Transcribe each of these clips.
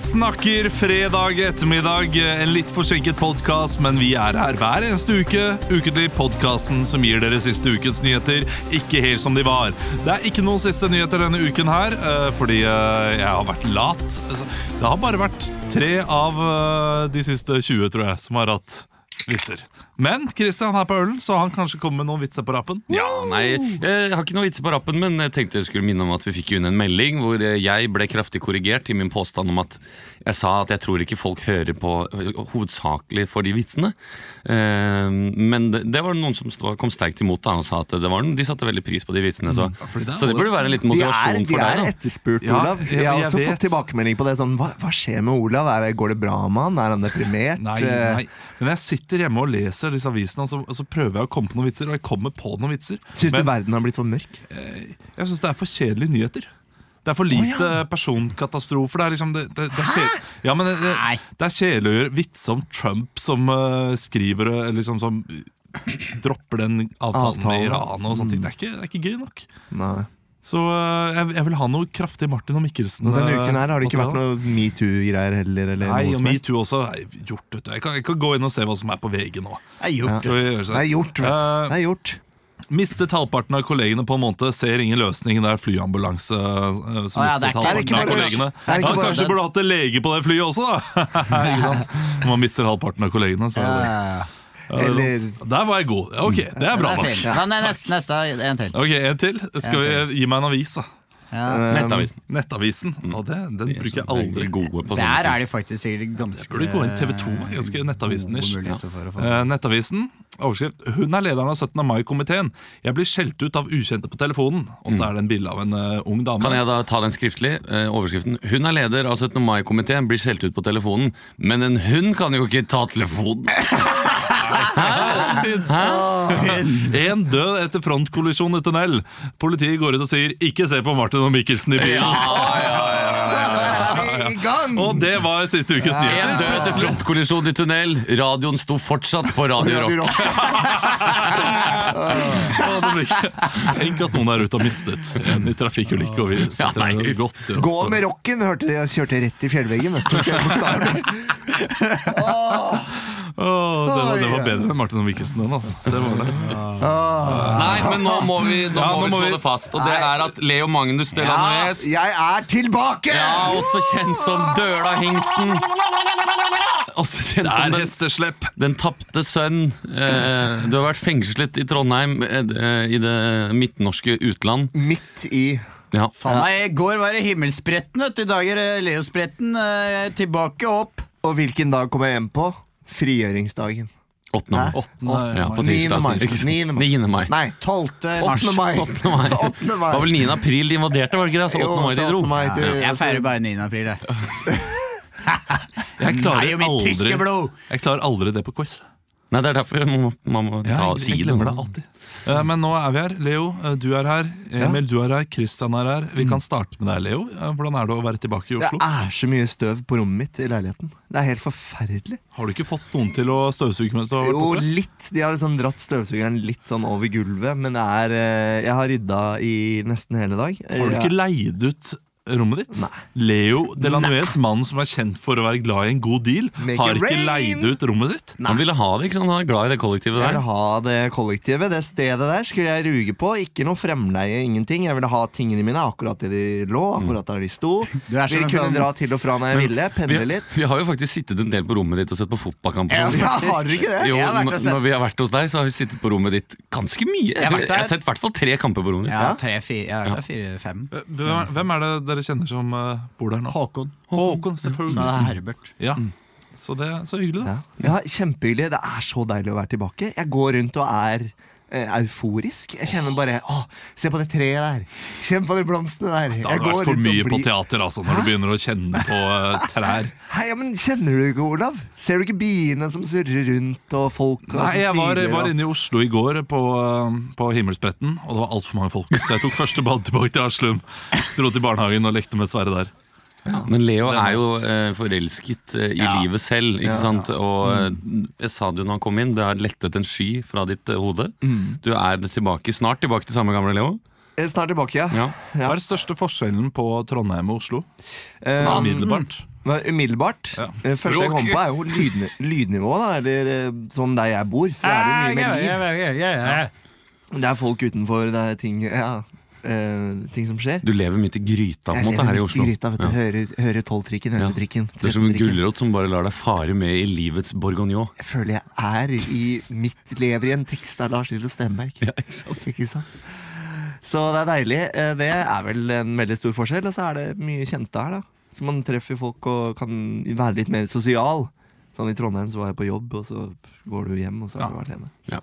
snakker fredag ettermiddag. En litt forsinket podkast, men vi er her hver eneste uke. Ukentlig podkasten som gir dere siste ukens nyheter, ikke helt som de var. Det er ikke noen siste nyheter denne uken her, eh, fordi eh, jeg har vært lat. Altså, Det har bare vært tre av eh, de siste 20, tror jeg, som har hatt vitser. Men Christian er på ølen, så han kanskje kommer med noen vitser på rappen. Ja, Ah, nei, Jeg har ikke noe vitser på rappen, men jeg tenkte jeg skulle minne om at vi fikk inn en melding hvor eh, jeg ble kraftig korrigert i min påstand om at jeg sa at jeg tror ikke folk hører på eh, hovedsakelig for de vitsene. Eh, Men det det var noen som st- kom sterkt imot da og sa at det var, de satte veldig pris på de vitsene. Så, fordi det er så det burde være en liten De er, moderasjon de for er deg. da etterspurt, Ja, Olav. jeg- Jeg har jeg også vet. fått tilbakemelding på det. Sånn, hva, hva skjer med Olav? Er, går det bra med han? Er han deprimert? Nei, Eh, nei. Men jeg sitter hjemme og leser disse avisene, og så, og så prøver jeg å komme på noen vitser. Og jeg kommer på noen vitser. Syns du Men verden har blitt for mørk? jeg syns det er for kjedelige nyheter. Det er for lite personkatastrofer. Det er liksom det, det, det er kjedelig ja, men det, det, det er kjedelig å gjøre vitser om Trump som eh, skriver eh, liksom som dropper den avtalen, Avtalen. Mm. med Iran og sånne ting. Det er ikke, det er ikke gøy nok. Nei. Så eh, jeg, jeg vil ha noe kraftig Martin og Mikkelsen. Og denne eh, uken her har det ikke materiale. vært noe metoo-greier heller? Eller Nei, noe og som helst. metoo også. Nei, gjort, vet du. Jeg kan, jeg kan gå inn og se hva som er på VG nå. Det er gjort. Skal vi gjøre sånn? det er gjort, vet Eh, du. Det er gjort. Mistet halvparten av kollegene på en måned, ser ingen løsning. Det er flyambulanse eh, som Å ja, det er mistet ikke- er det halvparten ikke av bare- kollegene. er det Da ikke bare- kanskje du burde hatt en lege på det flyet også, da! ikke sant? Når man mister halvparten av kollegene, så er det Ja. Ja, det er Eller- sant. Der var jeg god. Ja, Ok, det er bra Den er nok. fin. Ja, nei, neste, neste, en til. Ok, En til. Skal vi Gi meg en avis, da. Ja. Nettavisen. Nettavisen. Å, det, den De er bruker jeg sånn aldri. veldig gode på sånne Der ting. er de faktisk sikkert ganske Burde gå inn TV2, er ganske Nettavisen-ish. gode muligheter for å få- Eh, Nettavisen, overskrift Hun er lederen av 17. mai-komiteen. Jeg blir skjelt ut av ukjente på telefonen. Og så er det en bilde av en eh, ung dame. Kan jeg da ta den skriftlig? Eh, overskriften. Hun er leder av 17. mai-komiteen, blir skjelt ut på telefonen. Men en hund kan jo ikke ta telefonen! En død etter frontkollisjon i tunnel. Politiet går ut og sier 'ikke se på Martin og Mikkelsen i bilen'. I gang! Og det var siste ukes En død nyheter. etter frontkollisjon i tunnel. Radioen sto fortsatt på Radio Rock. Å, det blir ikke- Tenk at noen der ute har mistet en i trafikkulykke, og vi Ja, sitter nei, her og uff. godter oss. Gå med rocken, hørte de. Jeg kjørte rett i fjellveggen. Vet du. Ikke bokstavelig. Å, det, var, det var bedre enn Martin og Mikkelsen, den. Altså. Det var det. Nei, men nå må vi, nå Ja, nå må vi må slå vi- det fast. Og det er at Leo Magnus Delanues Jeg er tilbake! ja, også kjent som Dølahingsten. Også kjent Det som er den, hesteslepp. den tapte sønn. Eh, du har vært fengslet i Trondheim, eh, i det midtnorske utland. Midt i Ja. Faen meg, I går var det Himmelspretten, vet du. I dag er det Leospretten. eh, Tilbake opp. Og hvilken dag kom jeg hjem på? Frigjøringsdagen. 8. mai. Ja, på Niende tirsdag. mai. Ikke sant? Niende mai. Niende mai. Nei, 12. mars. 8. mai. 8. mai. Åttende Det var vel 9. april de invaderte, var det ikke det? Så 8. mai altså, de dro. Jeg feirer bare 9. april, jeg. Jeg klarer Nei, og mitt tyske aldri, blod. jeg klarer aldri det på quiz. Nei, det er derfor man må, man må ta, Ja, si jeg det. glemmer det alltid. Eh, Men nå er vi her. Leo, eh, du er her. Emil, du er her. Christian er her. Mm. Vi kan starte med deg, Leo. Eh, Hvordan er det å være tilbake i Det Oslo? er så mye støv på rommet mitt i leiligheten. Det er helt forferdelig. Har du ikke fått noen til å støvsuge mens du har vært Jo, borte? litt. De har liksom dratt støvsugeren litt sånn over gulvet, men det er eh, Jeg har rydda i nesten hele dag. Har du ikke leid ut rommet ditt? Leo Delanues, mannen som er kjent for å være glad i en god deal, Make har it ikke rain! leid ut rommet sitt. Han ville ha det, ikke sant? Han er glad i det kollektivet Jeg der. vil ha det kollektivet. Det stedet der skulle jeg ruge på. Ikke noe fremleie, ingenting. Jeg ville ha tingene mine akkurat der de lå, akkurat der de sto. Du er som Ville en kunne sånn- dra til og fra når jeg ville. Vi, Pendle litt. vi har jo faktisk sittet en del på rommet ditt og sett på fotballkamp. Ja, og sånn. faktisk. har dere ikke det? Jo, Jeg har vært og n- sett- når vi har vært hos deg, så har vi sittet på rommet ditt ganske mye. Jeg, har tror, vært jeg der. har sett i hvert fall tre kamper på rommet ditt. Ja, tre, fire, jeg har vært der fire-fem. Eh, Hvem er- hvem er det dere kjenner som eh, bor der nå? Håkon. Nå Håkon, er selvfølgelig. det Herbert. Ja. Så det er så hyggelig, da. Mm. Ja, ja kjempehyggelig. Det er så deilig å være tilbake. Jeg går rundt og er eh, euforisk. Jeg kjenner bare Å, se på det treet der. Kjenn på de blomstene der. Da har Jeg du går sånn vært for rundt og mye på blir- teater altså, når du begynner å kjenne på eh, trær. Hei, ja, men Kjenner du ikke, Olav? Ser du ikke biene som surrer rundt, og folk og Nei, som jeg var, smiler, var og- inne i Oslo i går på, eh, på Himmelspretten, og det var altfor mange folk. Så jeg tok første ball tilbake til Aslum, dro til barnehagen og lekte med Sverre der. Men Leo er jo eh, forelsket eh, i Ja. livet selv, ikke sant? Og Mm. eh, jeg sa det jo når han kom inn, det har lettet en sky fra ditt eh, hode. Mm. Du er tilbake, snart tilbake til samme gamle Leo. Eh, Snart tilbake, ja. Ja. Ja. Hva er den største forskjellen på Trondheim og Oslo? Eh, Umiddelbart. men var umiddelbart. Ja. Eh, Første jeg Språk. kom på, er jo lydn lydnivå, da. Eller eh, sånn der jeg bor. Så er det jo mye med liv. Det er folk utenfor, det er ting Ja. eh, ting som skjer. Du lever midt i gryta på en Jeg måte lever her i midt Oslo. gryta, vet du. Ja. Hører, hører tolvtrikken, Ja. elleve-trikken, Du er som en 13-trikken. gulrot som bare lar deg fare med i livets bourgognon. Jeg føler jeg er i mitt lever i en tekst av Lars Lillo Stenberg. ikke sant? Ikke sant? Så det er deilig. Eh, Det er vel en veldig stor forskjell. Og så er det mye kjente her, da. Så man treffer folk og kan være litt mer sosial. Sånn I Trondheim så var jeg på jobb, og så går du hjem, og så er du alene. Ja.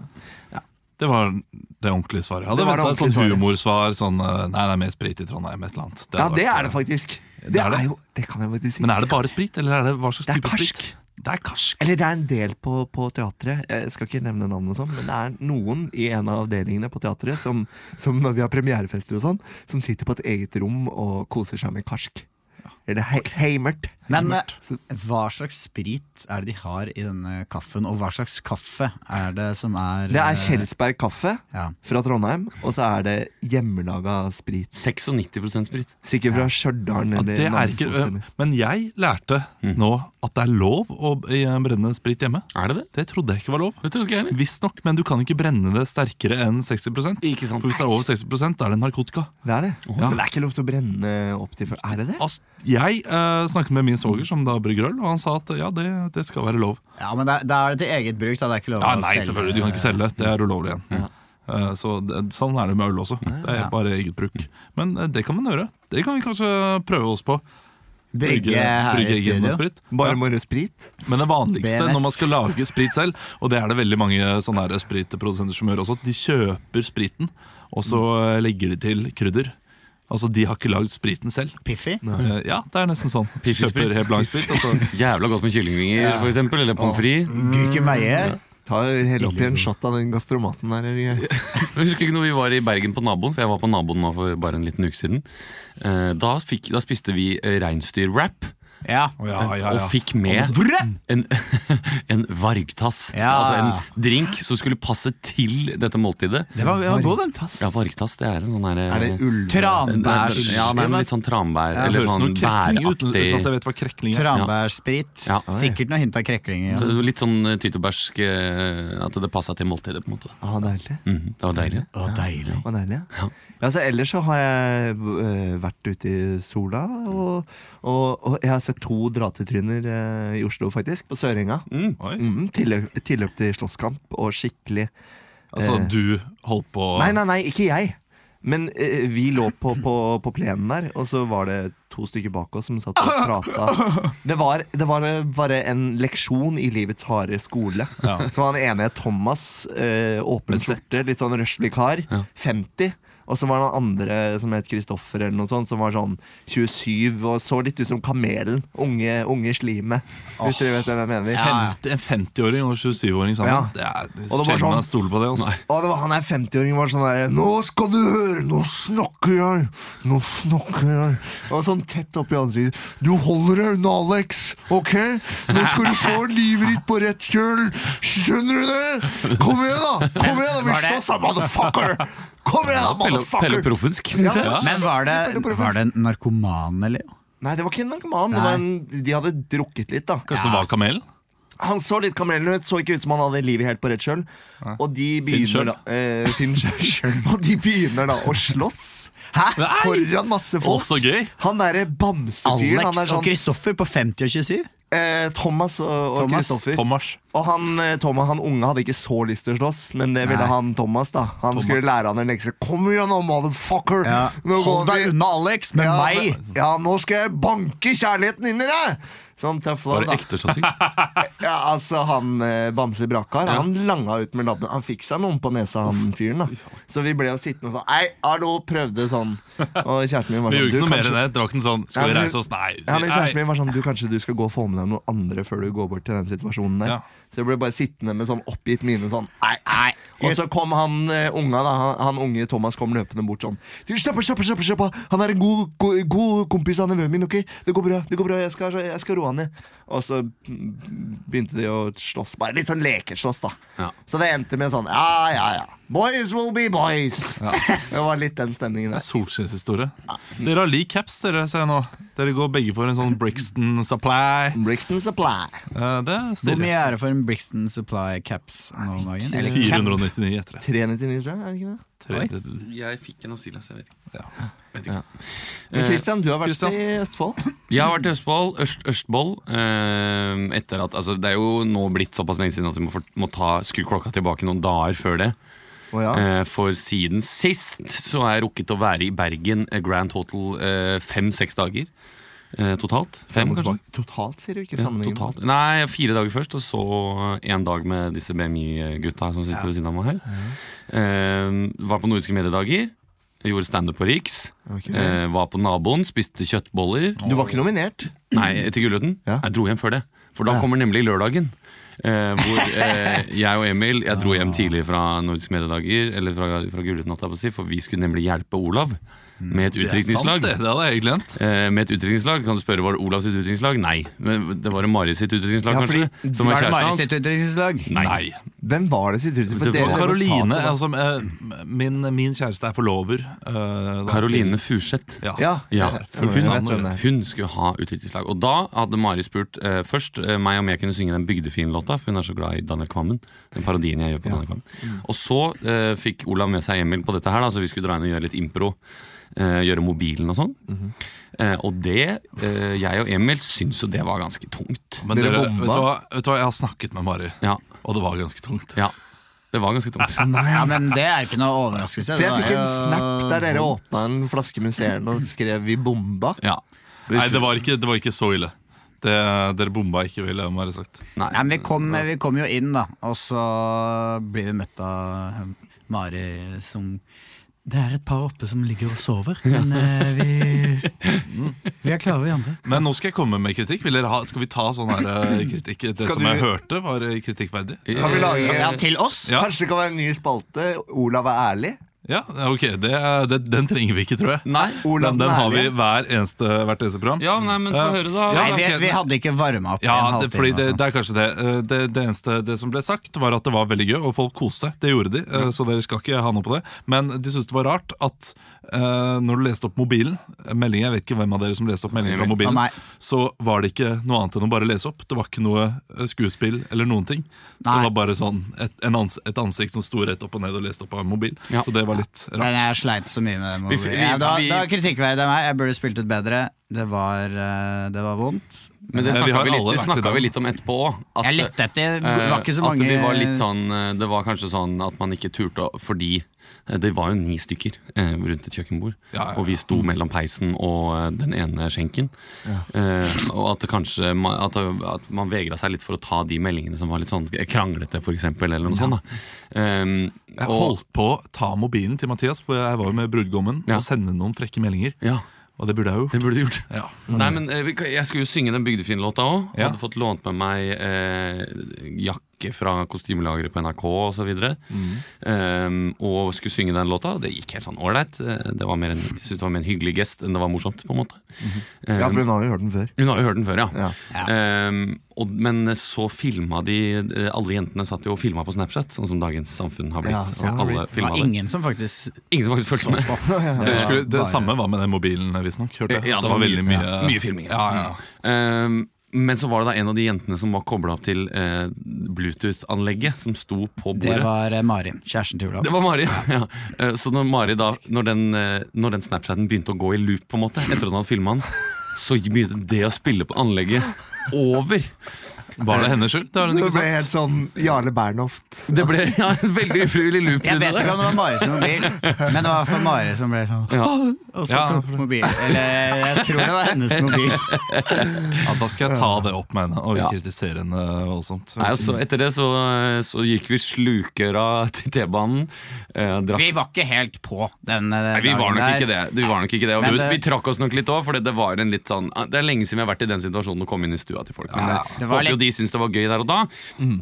Det var det ordentlige svaret. Jeg hadde Det var det ventet et sånt ordentlige humorsvar. Sånn, eh, nei, det er mer sprit i Trondheim, et eller annet. Ja, hadde det vært, er det faktisk. eh, Det, det er er, det. jo Det kan jeg faktisk si. Men er det bare sprit, eller er det hva slags Det er type sprit? karsk. Det er karsk. Eller det er en del på, på teatret. Jeg skal ikke nevne navn, og sånn men det er noen i en av avdelingene på teatret som, som når vi har premierefester og sånn, som sitter på et eget rom og koser seg med karsk. Eller he heimert. Men eh, hva slags sprit er det de har i denne kaffen, og hva slags kaffe er det som er Det eh, er Kjelsberg kaffe Ja. fra Trondheim, og så er det hjemmelaga sprit. 96 sprit. Sikkert fra Stjørdal Ja, eller det er ikke, Namsos. eller- men jeg lærte Mm. nå at det er lov å eh, brenne sprit hjemme. Er det det? Det trodde jeg ikke var lov. Det trodde ikke jeg heller. Visstnok, men du kan ikke brenne det sterkere enn 60 Ikke sant. For hvis det er over 60 da er det narkotika. Det er det. Ja. Men det er ikke lov til å brenne opp til før. Er det det? Altså, jeg eh, snakket med min svoger, som da brygger øl, og han sa at ja, det, det skal være lov. eh, Ja, men det, er- det er til eget bruk, da. Det er ikke lov Ja, å nei, selge. selvfølgelig, du kan ikke selge. Det er ulovlig igjen. Eh, Så det, sånn er det med øl også. Det er Ja. bare eget bruk. Men eh, det kan man gjøre. Det kan vi kanskje prøve oss på. Brygge her i egen studio. sprit. Bare moro sprit? Men det vanligste BMS. når man skal lage sprit selv, og det er det veldig mange sånne her spritprodusenter som gjør også, de kjøper spriten, og så eh, legger de til krydder. Altså, de har ikke lagd spriten selv. Piffi. Eh, Ja, det er nesten sånn. De Piffi-sprit. kjøper helt blank sprit, og så Jævla godt med kyllingvinger, for eksempel. Eller pommes frites. Gurkemeie. Ta Hell oppi en shot av den gastromaten der. eller- Jeg husker ikke når vi var i Bergen på naboen, for jeg var på naboen nå for bare en liten uke siden. Eh, Da, fikk, da spiste vi eh, reinsdyrwrap. Ja. Ja, ja, Og ja. fikk med en, en vargtass. Ja. Altså en drink som skulle passe til dette måltidet. Det var, det var god, den. Ja, vargtass, det er en sånn derre Er det ulv... Tranbærs... Ja, det er en litt sånn tranbær. Det eller høres sånn noe krekling ut, uten at bæraktig. jeg vet hva krekling er. Tranbærsprit. Ja. Sikkert noe hint av krekling. Ja. Det var Litt sånn eh, tyttebærsk eh, At det passa til måltidet, på en måte. Ah, deilig. Mhm, det var deilig. Å, deilig. Å, deilig, ja. ja altså, ellers så har jeg eh, vært ute i sola, og, og, og jeg har sett to dratetryner eh, i Oslo, faktisk. På Sørenga. Oi. Mm, tilløp, tilløp til slåsskamp og skikkelig Altså, du holdt på Nei, nei, nei, ikke jeg. Men eh, vi lå på, på, på plenen der, og så var det to stykker bak oss som satt og prata. Det var, det var bare en leksjon i livets harde skole. Så var han ene Thomas, eh, åpen skjorte, litt sånn røslig kar, 50. Og så var det han andre som het Kristoffer, eller noe sånt, som var sånn 27 og så litt ut som Kamelen. Unge, unge slimet. Hvis dere vet hvem jeg mener. Femti- En 50-åring og 27-åring sammen. Ja. Det er, det Og det var sjelden sånn- jeg stoler på det. Altså. Og det var, han der 50-åringen var sånn der Nå skal du høre, nå snakker jeg Nå snakker jeg Og sånn tett opp i ansiktet Du holder deg unna Alex, ok? Nå skal du få livet ditt på rett kjøl Skjønner du det? Kom igjen da, kom igjen da, vi Var det- slåss da, motherfucker Kom igjen da, Pelle, Pelle motherfucker Proffensk, syns jeg. Ja. Men var det, var det en narkoman, eller? Nei, det var ikke en narkoman det var en- De hadde drukket litt da Kanskje det var kamelen? Han så litt kamelen ut, så ikke ut som han hadde livet helt på rett kjøl. Og de Finn begynner da eh, Finn sjøl. Og de begynner da å slåss. Hæ? Nei! Foran masse folk. Å, så gøy. Han derre bamsefyren. Han er Alex og sånn Kristoffer på 50 og 27? eh, Thomas og og Thomas. Kristoffer. Thomas. Og han, eh, Thomas, han unge hadde ikke så lyst til å slåss, men det ville Nei. han Thomas. da Han skulle lære han en lekse. Kom igjen, nå, motherfucker! Ja. Nå Hold går vi- deg unna Alex, med ja, meg! men- Ja, nå skal jeg banke kjærligheten inn i deg! Sånn tøff lov, Var da. det ekte slåssing? Ja, altså han eh, Bamse Brakar, han langa ut med labben. Han fikk seg noen på nesa, han fyren. da Så vi ble jo sittende og sånn Nei, hallo, prøvde sånn. Og kjæresten min var Vi sånn gjorde ikke «Du, noe mer kanskje- enn det. Det var ikke en sånn Skal Ja, vi men- reise oss? Nei. Ja, men nei. Kjæresten min var sånn Du kanskje du skal gå og få med deg noen andre før du går bort til den situasjonen der. Ja. Så jeg ble bare sittende med sånn oppgitt mine sånn Nei, Nei, og så kom han eh, unga da han, han unge Thomas kom løpende bort sånn «Du, Slapp av, slapp av, slapp av, slapp av Han er en god, god, god kompis av nevøen min, ok? Det går bra, det går bra, jeg skal, jeg skal roe han ned Og så mm, begynte de å slåss Bare litt sånn lekeslåss da Ja. Så det endte med sånn, ja, ja, ja Boys will be boys Det var litt den stemningen Det er der solskinnshistorie. Dere har lik caps, dere, ser jeg nå. Dere går begge for en sånn Brixton Supply. Brixton Supply. Eh, det er Hvor stille. mye er det for en Brixton Supply Caps nå om dagen? Eller cap? 499 etter det. 399, tror jeg. er det ikke det? Tre- Jeg fikk en av Silas, jeg vet ikke. Ja. Vet ikke. Eh, Men Christian, du har vært Christian. i Østfold. Jeg har vært i Østfold, Øst, Østfold eh, etter at, altså Det er jo nå blitt såpass lenge siden at vi må, fort- må ta, skru klokka tilbake noen dager før det. Oh, ja. Eh, for siden sist så har jeg rukket å være i Bergen eh, Grand Total eh, fem-seks dager eh, totalt. Fem, kanskje? Totalt, sier du ikke Ja, sammenhengen. totalt. Nei, fire dager først, og så en dag med disse BMI-gutta som sitter ved siden av meg her. Eh, var på nordiske mediedager, gjorde standup på Riks. Ok. eh, var på naboen, spiste kjøttboller. Du var ikke nominert. Nei, til Gullruten. Ja. Jeg dro hjem før det. For da Ja. kommer nemlig lørdagen. eh, hvor eh, jeg og Emil Jeg dro Ah. hjem tidlig fra Nordiske mediedager, eller fra, fra Gullruten, holdt jeg på å si, for vi skulle nemlig hjelpe Olav med et Mm. Det er sant, utdrikningslag. det. Det hadde jeg glemt. Eh, med et utdrikningslag. Kan du spørre var det Olav sitt utdrikningslag? Nei. Men det var det Marit sitt utdrikningslag, Ja, fordi- kanskje? Som var Er det kjæresten Marit hans? sitt utdrekningslag? Nei. Hvem var det sitt uttrykk? Det var Og Eller Karoline, altså, eh, min, min kjæreste er forlover. eh, da- Caroline Furseth. Ja. Ja. Ja, for for hun- hun, jeg vet hvem det er. hun skulle ha utdrikningslag. Og da hadde Mari spurt eh, først eh, meg om jeg kunne synge den Bygdefin-låta, for hun er så glad i Daniel Kvammen. Den parodien jeg gjør på Daniel Kvammen. Og så eh, fikk Olav med seg Emil på dette her, da, så vi skulle dra inn og gjøre litt impro. eh, gjøre mobilen og sånn. eh, og det, eh, jeg og Emil syns jo det var ganske tungt. Men Dere dere, bomba. vet, du hva, vet du hva, jeg har snakket med Mari, Ja, og det var ganske tungt. ja det var ganske tungt. Ja, men det er ikke noe overraskelse. For det jeg var fikk en jo- snap der dere åpna en flaske musserende og skrev 'vi bomba'. Ja. Nei, det var ikke, det var ikke så ille. Det, dere bomba ikke, ville jeg bare sagt. Nei. Nei, men vi kom, vi kom jo inn, da, og så blir vi møtt av um, Mari som Det er et par oppe som ligger og sover, men eh, vi, vi er klare, vi andre. Men nå skal jeg komme med kritikk. Vil dere ha, skal vi ta sånn her eh, kritikk? Det Skal som du- jeg hørte, var eh, kritikkverdig? Kan vi lage- Ja, til oss? Ja. Kanskje det kan være en ny spalte. Olav er ærlig. Ja, ok. Det, er- det, den trenger vi ikke, tror jeg. Nei. Olav Den, den er har vi ærlig. hver eneste, hvert eneste program. Ja, nei, men få Eh, høre, da. ja, Nei, vi, ok. vi hadde ikke varma opp i en Ja, det, halvtime. fordi det, sånn. altså. det er kanskje det. Eh, det. Det eneste det som ble sagt, var at det var veldig gøy, og folk koste seg. Det gjorde de, eh, så dere skal ikke ha noe på det. Men de syntes det var rart at eh, når du leste opp mobilen eh, meldingen, Jeg vet ikke hvem av dere som leste opp meldingen fra Emil. Å, mobilen. nei. Så var det ikke noe annet enn å bare lese opp. Det var ikke noe eh, skuespill eller noen ting. Nei. Det var bare sånn et, en ans et ansikt som sto rett opp og ned og leste opp av en mobil. Ja. Så det var litt Men rart. jeg sleit så mye med det. Vi- mobilen. vi- ja, da, vi- da kritikkverdig av meg. Jeg burde spilt ut bedre. Det var, eh, det var vondt. Men det Ja, vi snakka har vi, litt- alle det vært i snakket den. vi litt om etterpå òg. Jeg lette etter. Det var ikke så eh, at mange vi var litt sånn eh, Det var kanskje sånn at man ikke turte å- Fordi eh, det var jo ni stykker eh, rundt et kjøkkenbord. Ja, ja, ja. Og vi sto mellom peisen og eh, den ene skjenken. Eh, og at det kanskje ma- at, at man vegra seg litt for å ta de meldingene som var litt sånn kranglete, for eksempel, eller noe sånt. da Ehm, Jeg og- holdt på å ta mobilen til Mathias, for jeg var jo med brudgommen, Ja. og sende noen frekke meldinger. Ja, Og det burde jeg jo. det burde du gjort. Ja. Mm. Nei, men eh, vi kan- Jeg skulle jo synge den Bygdefin-låta òg. Ja. Hadde fått lånt med meg eh, jakke fra kostymelageret på NRK osv. Og, mm. um, og skulle synge den låta. og Det gikk helt sånn ålreit. Eh, Det var mer en, jeg synes det var mer en hyggelig gest enn det var morsomt. på en måte Eh, Mhm. Ja, for hun har jo hørt den før. Hun har jo hørt den før, ja. Ja. Ehm, og, men så filma de eh, Alle jentene satt jo og filma på Snapchat, sånn som dagens samfunn har blitt. Ja, sånn og har det alle blitt. Det filma var det. ingen som faktisk Ingen som faktisk fulgte med. Det, skulle, det bare- samme var med den mobilen, visstnok. hørte jeg. Ja, det var veldig mye- mye, ja, mye filming. Ja, ja, ja. Ehm, men så var det da en av de jentene som var kobla opp til eh, Bluetooth-anlegget, som sto på bordet. Det var eh, Mari, kjæresten til Olav. Det var Mari. ja. Eh, Så når Mari da når den, eh, når den Snapchaten begynte å gå i loop, på en måte etter at han hadde filma den, så begynte det å spille på anlegget over. Var det hennes skyld? Det har hun Så det ikke ble sagt. helt sånn Jarle Bernhoft. Det ble ja, en veldig ufrivillig loop. Jeg rundt vet det. ikke om det var Mari som mobil, men det var for Mari som ble sånn Ja. Og så Ja. tok mobil. Eller jeg tror det var hennes mobil. Ja, da skal jeg ta det opp med henne og Ja. kritisere henne voldsomt. Nei, og så etter det så, eh, så gikk vi slukøra til T-banen. eh, drakk Vi var ikke helt på den eh, Nei, vi var dagen nok der. ikke det. Vi, var nok ikke det. Og Men vi, det- vi trakk oss nok litt òg, for det, det var en litt sånn Det er lenge siden vi har vært i den situasjonen å komme inn i stua til folk. Men Ja, jeg det var håper jo litt- de syntes det var gøy der og da.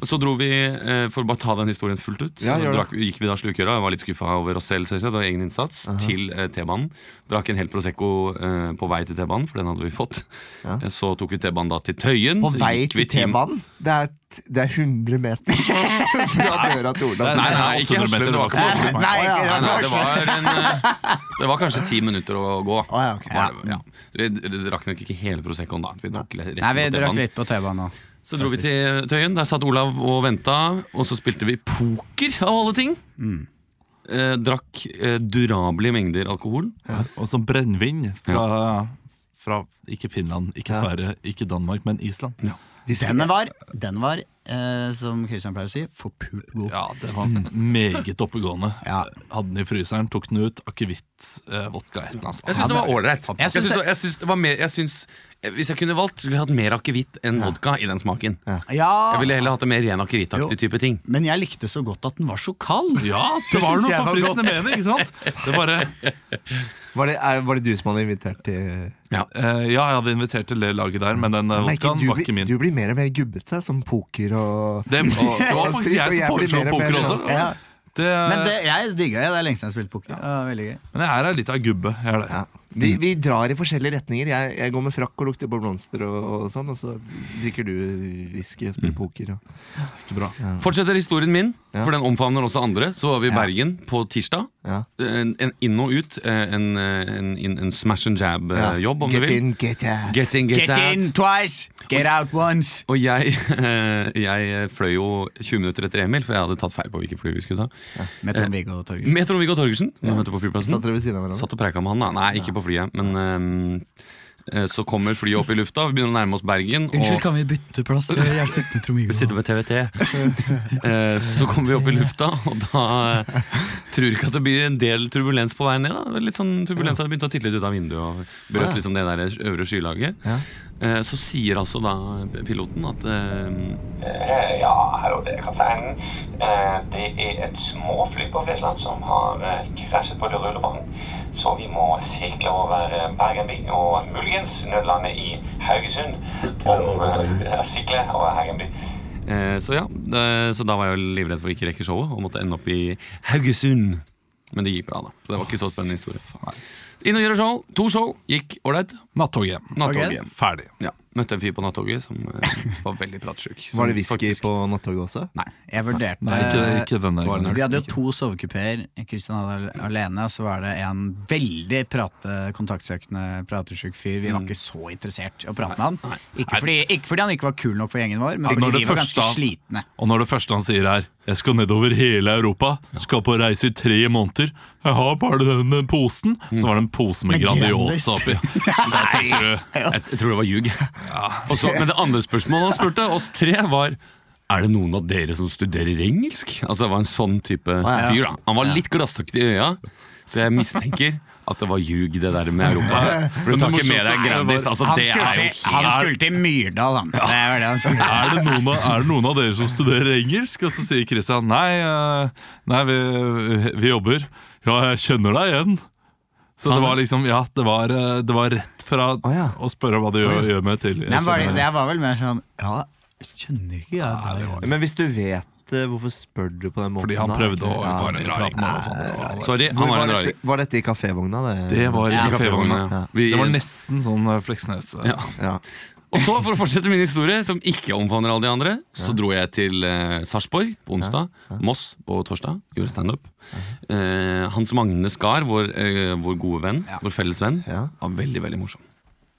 Så dro vi, eh, for å bare ta den historien fullt ut, så Ja, gjør det. drakk, gikk vi da slukøra. Jeg var litt skuffa over oss selv selvsagt, og egen innsats, til eh, T-banen. Drakk en hel Prosecco eh, på vei til T-banen, for den hadde vi fått. Eh, Så tok vi T-banen da til Tøyen. På Så vei gikk vi til time- T-banen. Det er Vent, det er 100 meter fra døra til Olav. Nei, nei, ikke 800 meter, det var ikke Haslebakken. Haslebakken. Å, ja. Nei, nei, det, var en, eh, det var kanskje ti minutter å gå. Å, ja, ok. Var det, ja. Vi vi drakk nok ikke hele Proseccoen da. Vi drakk resten Nei, vi av drakk T-banen. litt på T-banen. nå. Så dro vi til Tøyen. Der satt Olav og venta. Og så spilte vi poker, av alle ting. Eh, drakk eh, durable mengder alkohol. Og som brennevin fra, fra ikke Finland, ikke Sverige, ikke Danmark, men Island. Den var, den var eh, som Christian pleier å si, forpult god. Ja, det var meget oppegående. Ja. Hadde den i fryseren, tok den ut. Akevitt, eh, vodka, et eller annet. Jeg syns det var ålreit. Jeg Jeg syns syns det- jeg syns det var mer- jeg syns- eh, Hvis jeg kunne valgt, skulle jeg hatt mer akevitt enn vodka i den smaken. Jeg Ja, ville heller hatt en mer ren akevittaktig type ting. men jeg likte så godt at den var så kald. Ja, det var synes noe jeg var forfriskende med det, ikke sant? Det bare, Var det, er, var det du som hadde invitert til Ja. eh, ja, jeg hadde invitert til det laget der, men den eh, Nei, ikke, vodkaen du, var ikke blir, min. du blir mer og mer gubbete, som poker og Det, det var og faktisk sprit, og jeg som blir foreslo mer og mer poker sånn. også. Ja. Det, Men det, jeg digga det. Det er lenge siden jeg spilte poker. Ja, veldig gøy. men jeg er litt av gubbe. Jeg er det. Ja. Vi, vi drar i forskjellige retninger. Jeg, jeg går med frakk og lukter på blomster og, og sånn, og så drikker du whisky og spiller poker. Og. Ikke bra. Fortsetter historien min, Ja. for den omfavner også andre. Så var vi i Bergen på tirsdag. Ja. En, en inn og ut. eh, En, en, en, en smash and Ja. jab-jobb, Eh, om get du vil. in, get out. Get in, get, Get out. in twice, get out once. Og jeg, jeg fløy jo 20 minutter etter Emil, for jeg hadde tatt feil på hvilken fly vi skulle ta. Med Trond-Viggo og Torgersen. Med Trond-Viggo Torgersen. hvor vi møtte på flyplassen. Satt dere ved siden av hverandre? Satt og preika med han, da. Nei, ikke på flyet, men eh, eh, så kommer flyet opp i lufta, vi begynner å nærme oss Bergen. og- kan vi bytte plass? Jeg er sittende Vi sitter med TVT. Eh, Så kommer vi opp i lufta, og da eh, tror jeg ikke at det blir en del turbulens på veien ned. Da. Det var Litt sånn turbulens hadde begynt å titte litt ut av vinduet og brøt liksom det der øvre skylaget. Eh, Så sier altså da piloten at eh, Eh, Ja, hallo, det er kapteinen. Eh, Det er et småfly på Flesland som har eh, krasjet på rullebanen. Så vi må sikle over eh, Bergen by og muligens nødlande i Haugesund. Om, eh, ja, sikle over Bergen by. eh, Så ja, eh, så da var jeg jo livredd for å ikke rekke showet og måtte ende opp i Haugesund. Men det gikk bra, da. Så Det var ikke så spennende historie. Inn og gjøre show. To show. Gikk ålreit. Nattoget. Nattoget. Ferdig. Ja. Møtte en fyr på nattoget som eh, var veldig pratsjuk. Var det Som whisky faktisk- på nattoget også? Nei. Jeg vurderte Nei, ikke, ikke denne var det gangen. Vi hadde jo to sovekupeer. Kristian hadde al- alene, og så var det en veldig prate, kontaktsøkende, pratesjuk fyr. Vi var Mm. ikke så interessert i å prate med han. Ikke fordi, ikke fordi han ikke var kul nok for gjengen vår, men Når fordi det vi var første- ganske slitne. Og når det første han sier er 'Jeg skal nedover hele Europa, skal på reise i tre måneder', 'Jeg har bare den posen', så var det en pose med Med Grandiosa Grandis. oppi. Da tenker du Jeg, jeg tror det var ljug. Og så- men det andre spørsmålet han spurte oss tre, var er det noen av dere som studerer engelsk? Altså Det var en sånn type ja. fyr. da Han var litt glassaktig i øya, så jeg mistenker at det var ljug, det der med Europa. For du Men det tar ikke med morsomste er deg jo Grandis. bare- Altså, Han det skulle, er jo til, han helt skulle til Myrdal, han. Det var det han skulle. er det, noen av, er det noen av dere som studerer engelsk? Og så sier Christian nei, eh, nei vi, vi jobber. Ja, jeg kjenner deg igjen. Så det var liksom, ja, det var, eh, det var rett fra ja. å spørre hva du gjør, gjør med til jeg Nei, men var kjenner det, deg. det var vel mer sånn Ja, jeg skjønner ikke jeg. bare- Men hvis du vet eh, hvorfor spør du på den måten? Fordi han da? prøvde å Ja. bare prate med sånn. oss sjukt. andre. Sorry, Hvor han var var, en raring. dette, var dette i kafévogna? Det? Det var i Ja. kafévogna. Ja. Vi- Det var nesten sånn eh, Fleksnes. eh, Ja. Ja. Og så, for å fortsette min historie, som ikke omfavner alle de andre, så dro jeg til eh, Sarpsborg på onsdag, Moss på torsdag, gjorde standup. Eh, Hans Magne Skar, vår, eh, vår gode venn, vår felles venn, Ja. var veldig veldig morsom.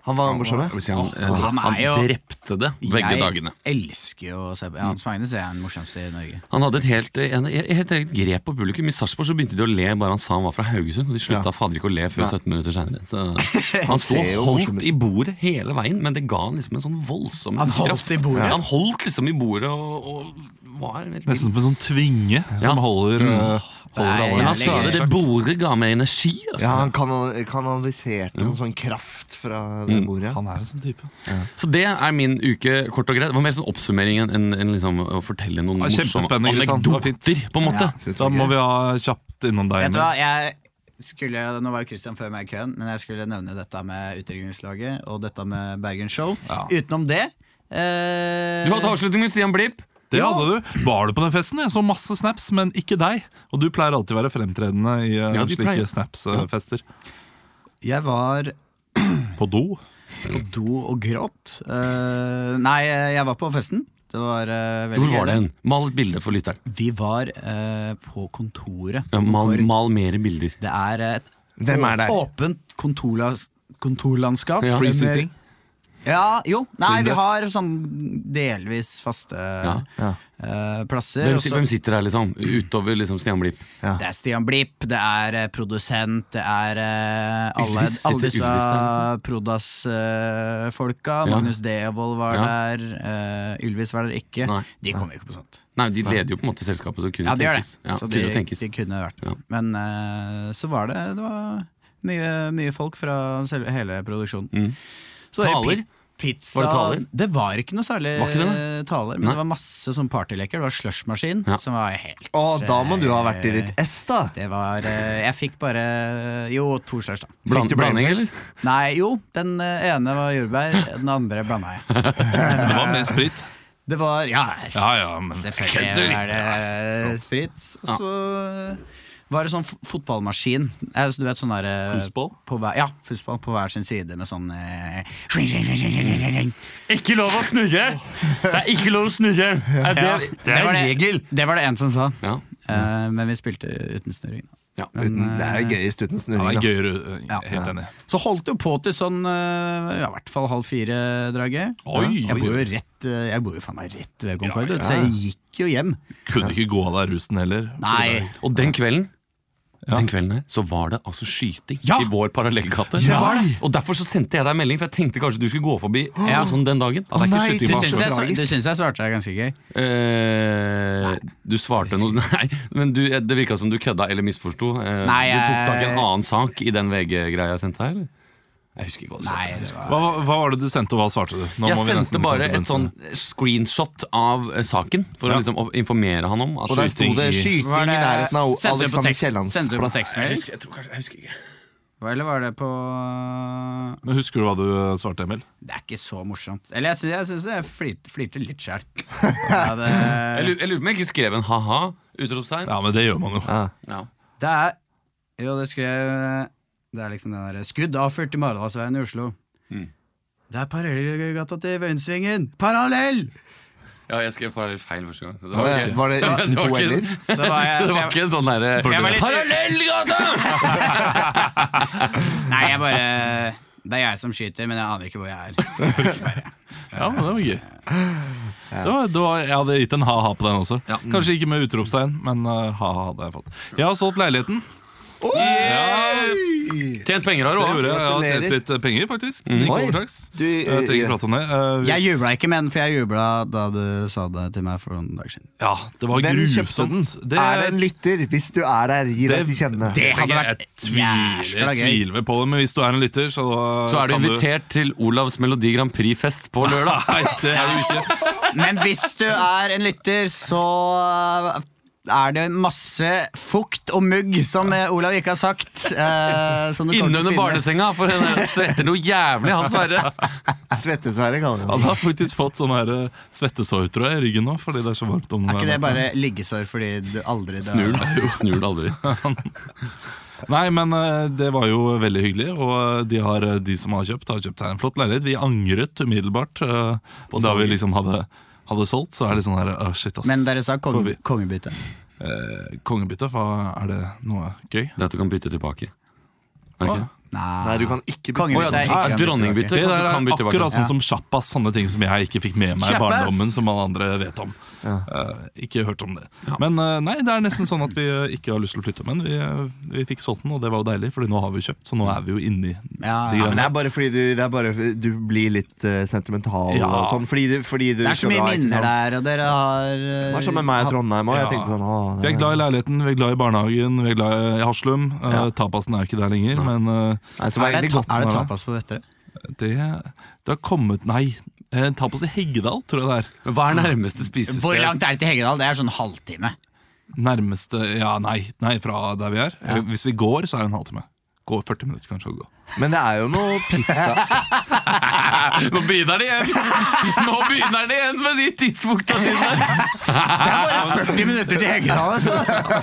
Han var morsom, ja. Jeg vil si han, eh, han han, er jo- drepte det begge dagene. Mm. Jeg elsker jo å se på ja, Hans Magnus er den morsomste i Norge. Han hadde et helt, eh, en, helt eget grep på publikum. I Sarpsborg så begynte de å le bare han sa han var fra Haugesund, og de slutta fader ikke å le før 17 minutter seinere. Han sto ser jo og morsom ut. holdt i bordet hele veien, men det ga han liksom en sånn voldsom Han holdt kraft. i bordet? Ja, han holdt liksom i bordet og, og var helt vild. Nesten som en sånn tvinge som Ja. holder, eh, holder Nei, alle. Men Ja, han sa legger det, det sjakk. bordet ga meg energi. Altså. ja han kanal- kanaliserte noen sånn kraft fra det bordet. Han er en sånn type. Så det er min uke, kort og greit. Det var mer sånn oppsummering enn enn- enn liksom å fortelle noen Ja, morsomme kjempespennende, ikke sant? Det var fint. anekdoter, på en måte. Ja. Synes Da jeg må gøy. vi ha kjapt innom deg. Vet du Emil. hva, jeg skulle, Nå var jo Christian før meg i køen, men jeg skulle nevne dette med Utrykningslaget og dette med Bergen Show. Ja. Utenom det eh, Du hadde avslutning med Stian Blipp. Det hadde du. Var du på den festen? Jeg så masse snaps, men ikke deg. Og du pleier alltid å være fremtredende i eh, Ja, de pleier. slike snaps-fester. eh, Jeg var På do. på do og gråt. Eh, nei, jeg var på festen. Det Det var eh, veldig Hvor var gøy, det hen? Mal et bilde for lytteren. Vi var eh, på kontoret. Ja, på mal, Kord. mal mere bilder. Det er et Hvem er der? åpent kontorla- kontorlandskap. Med- Ja. Free sitting? Ja, jo. Nei, vi Blindes. har sånn delvis faste Ja. eh, plasser. Hvem, og så- si- hvem sitter her, liksom? Utover liksom Stian Blipp. Det er Stian Blipp, det er eh, produsent, det er eh, alle, Ylvis sitter alle disse Ylvis der, liksom. Prodas-folka. Ja. Magnus Devold var Ja. der. eh, Ylvis var der ikke. Nei. De kom jo ikke på sånt. Nei, de leder jo på en måte selskapet. Så kunne Ja, de gjør det. tenkes. Ja, så de, kunne tenkes. de kunne vært Ja. Men eh, så var det Det var mye, mye folk fra selve, hele produksjonen. Så var det Mm. Taler? pi- Pizza. Var det taler? Det var ikke noe særlig Var ikke det taler, men Nei. det var masse sånn partyleker. Det var slushmaskin, Ja. som var helt Å, da må du ha vært i ditt ess, da. det var eh, Jeg fikk bare Jo, to slush, da. Bland, Fikk du blanding, eller? brainface? Nei, jo. Den eh, ene var jordbær, den andre blanda jeg. Det var med sprit. Det var Ja, Ja, ja, men selvfølgelig er det sprit. Og så var det sånn f- fotballmaskin. Eh, så Du vet sånn der eh, Fotball? På hver, ja, fotball på hver sin side med sånn eh, swing, swing, swing, swing, swing, swing. Ikke lov å snurre! Det er ikke lov å snurre! Ja, var Det var det en som sa. Ja. Eh, men vi spilte uten snurring. Ja. Uten, Mm, det er gøyest uten ja, det snurring. er da. gøyere. eh, Ja. Helt enig. Så holdt det jo på til sånn eh, ja, i hvert fall halv fire-draget. Oi, Jeg oi, bor jo oi. rett eh, Jeg bor jo faen meg rett ved Ja, Concorde, ja. så jeg gikk jo hjem. Kunne ikke gå av deg rusen heller. Nei. Og den kvelden Den kvelden her, så var det altså skyting Ja! i vår parallellgate. Ja, det var det. Og Derfor så sendte jeg deg en melding, for jeg tenkte kanskje du skulle gå forbi. Ja. Sånn den Ja, det dagen er ikke Å, nei, skyting Du på det syns Asker. jeg, tragisk. du syns jeg svarte deg ganske gøy? eh, Du svarte noe Nei, men du, det virka som du kødda eller misforsto. Eh, Nei, du tok tak i jeg- en annen sak i den VG-greia jeg sendte her? eller? Jeg husker ikke hva du sa. Nei, det var Hva, hva var det du sendte, og hva svarte du? Nå Jeg må vi sendte nesten bare komme til et sånn bunns i screenshot av eh, saken, for Ja. å liksom å informere han om at Og der sto det skyting i Var det- nærheten av Sendte du på Alexander tekst- Kiellands sendte du på plass. tekst? Jeg husker, ikke. Eller var det på det. Men Husker du hva du eh, svarte, Emil? Det er ikke så morsomt. Eller jeg syns jeg, syns jeg flir- flirte litt sjæl. Ja, det, Jeg lu- jeg lurer på om jeg ikke skrev en ha-ha, utropstegn. Ja, men det gjør man jo. Ja. Ja. det er Jo, det skrev Det er liksom den derre Skudd avført i Maradalsveien i Oslo. Mm. Det er parallellgata til Vøyensvingen! Parallell! Ja, jeg skrev parallell feil første gang. Så det Var ikke- det, var det så i to var ikke- eller? Så var jeg, Så det var ikke en sånn derre Jeg var litt- Parallellgata! Nei, jeg bare Det er jeg som skyter, men jeg aner ikke hvor jeg er. Ja, men det var gøy. Det var, det var, jeg hadde gitt en ha-ha på den også. Kanskje ikke med utropstegn, men eh, ha-ha hadde jeg fått. Jeg har solgt leiligheten. Tjent penger har du Det òg. gjorde jeg. Jeg har tjent Gratulerer. litt eh, penger, faktisk. Litt Mm. Oi. overtaks. Du, Jeg trenger ikke prate om det. Eh, vi- Jeg jubla ikke, men for jeg jubla da du sa det til meg for noen dager siden. Ja, det var Hvem kjøpte den? grusomt. Det, Er det en lytter? Hvis du er der, gi deg til kjenne. Det jeg, hadde jeg, vært tviler, jæskla jeg gøy. tviler vel på det, men hvis du er en lytter, så Så er du kan invitert til Olavs Melodi Grand Prix-fest på lørdag. Nei, det er du ikke. Men hvis du er en lytter, så er det masse fukt og mugg, som eh, Olav ikke har sagt. Eh, som du kommer til å Inne under finne. barnesenga, for han svetter noe jævlig, han Sverre. Svettesverre kaller Han han det. har faktisk fått sånn her eh, svettesår, tror jeg, i ryggen nå, fordi det er så varmt om Er ikke det bare liggesår fordi du aldri drar? Snur det snur det aldri. Nei, men eh, det var jo veldig hyggelig, og eh, de, har, eh, de som har kjøpt, har kjøpt seg en flott leilighet. Vi angret umiddelbart eh, da vi liksom hadde, hadde solgt, så er det sånn her Å, shit, ass. Men dere sa konge, Forbi. kongebytte. Eh, kongebytte, hva er det noe gøy? Det at du kan bytte tilbake. Er det ikke det? Nei, du kan ikke bytte. Å ja, Kongebytte er ikke ah, kongebytte. dronningbytte. Det At der du er kan bytte tilbake. akkurat sånn som sjappas, sånne ting som jeg ikke fikk med meg i Sjappas! barndommen, som alle andre vet om. Eh, ikke hørt om det. Men eh, nei, det er nesten sånn at vi eh, ikke har lyst til å flytte, men vi, eh, vi fikk solgt den, og det var jo deilig, Fordi nå har vi jo kjøpt, så nå er vi jo inni Ja, de ja, Ja, men det greiene. er bare fordi du, det er bare, du blir litt eh, sentimental Ja. og sånn. Fordi du, fordi du Det er så mye minner der, og dere har Det eh, var sånn med meg i Trondheim òg. Ja. Jeg tenkte sånn åh, Vi det er er- glad i leiligheten, vi er glad i barnehagen, vi er glad i Haslum. Eh, Ja. Tapasen er ikke der lenger, men eh, Nei, så var Er det, egentlig ta, godt er det sånn, da. tapas på Vettere? det, det har kommet Nei, eh, tapas i Heggedal, tror jeg det er. Men Hva er nærmeste spisested? Hvor langt er det til Heggedal? Det er sånn halvtime. Nærmeste Ja, nei, nei fra der vi er. Eh, Hvis vi går, så er det en halvtime. Gå 40 minutter, kanskje. å gå Men det er jo noe pizza Nå begynner det igjen Nå begynner det igjen med de tidspunktene sine. Bare 40 minutter til Heggedal, altså!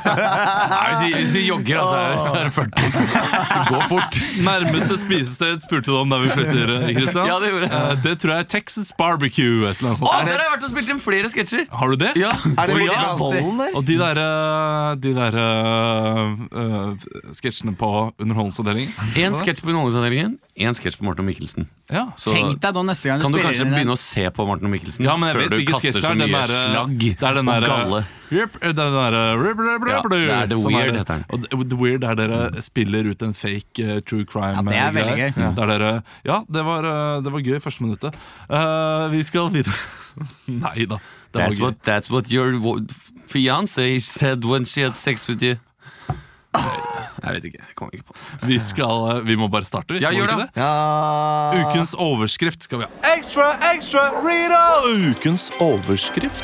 Nei, hvis, vi, hvis vi jogger, altså, så er det 40. Så det går fort. Nærmeste spisested spurte du om der vi flytter, eh, Christian. Ja, det gjorde jeg. Eh, det tror jeg er Texas Barbecue. Et eller annet sånt. Å, Er der det- har jeg vært og spilt inn flere sketsjer. Har du det? Ja. Er det Fordi- noe med volden der? Og de der, eh, de der eh, eh, sketsjene på Underholdningsavdelingen. En sketsj på Underholdningsavdelingen, en sketsj på Martin og Mikkelsen. Ja. Så Tenk deg da neste gang du kan du spiller kanskje inn i den. begynne å se på Martin og Mikkelsen Ja, men jeg før vet du hvilken kaster sketsj det så er. Den mye derre- slagg Det er den og derre galle. Rip, Den derre rup, rup, rup, Ja, rup, det er The sånn Weird, det. heter den. Og The- The Weird er dere spiller ut en fake eh, true crime. Ja, det er eh, veldig greier. gøy. Ja. Der dere Ja, det var, eh, det var gøy første minuttet. Eh, vi skal videre Nei da. Det var That's gøy. what, that's what your wo- fiance said when she had sex with you. Jeg vet ikke. Jeg kommer ikke på det. Vi, skal, eh, vi må bare starte. vi. Ja, Må vi gjør ikke det. Ja Ukens overskrift skal vi ha. Ekstra, ekstra, Rita! Ukens overskrift.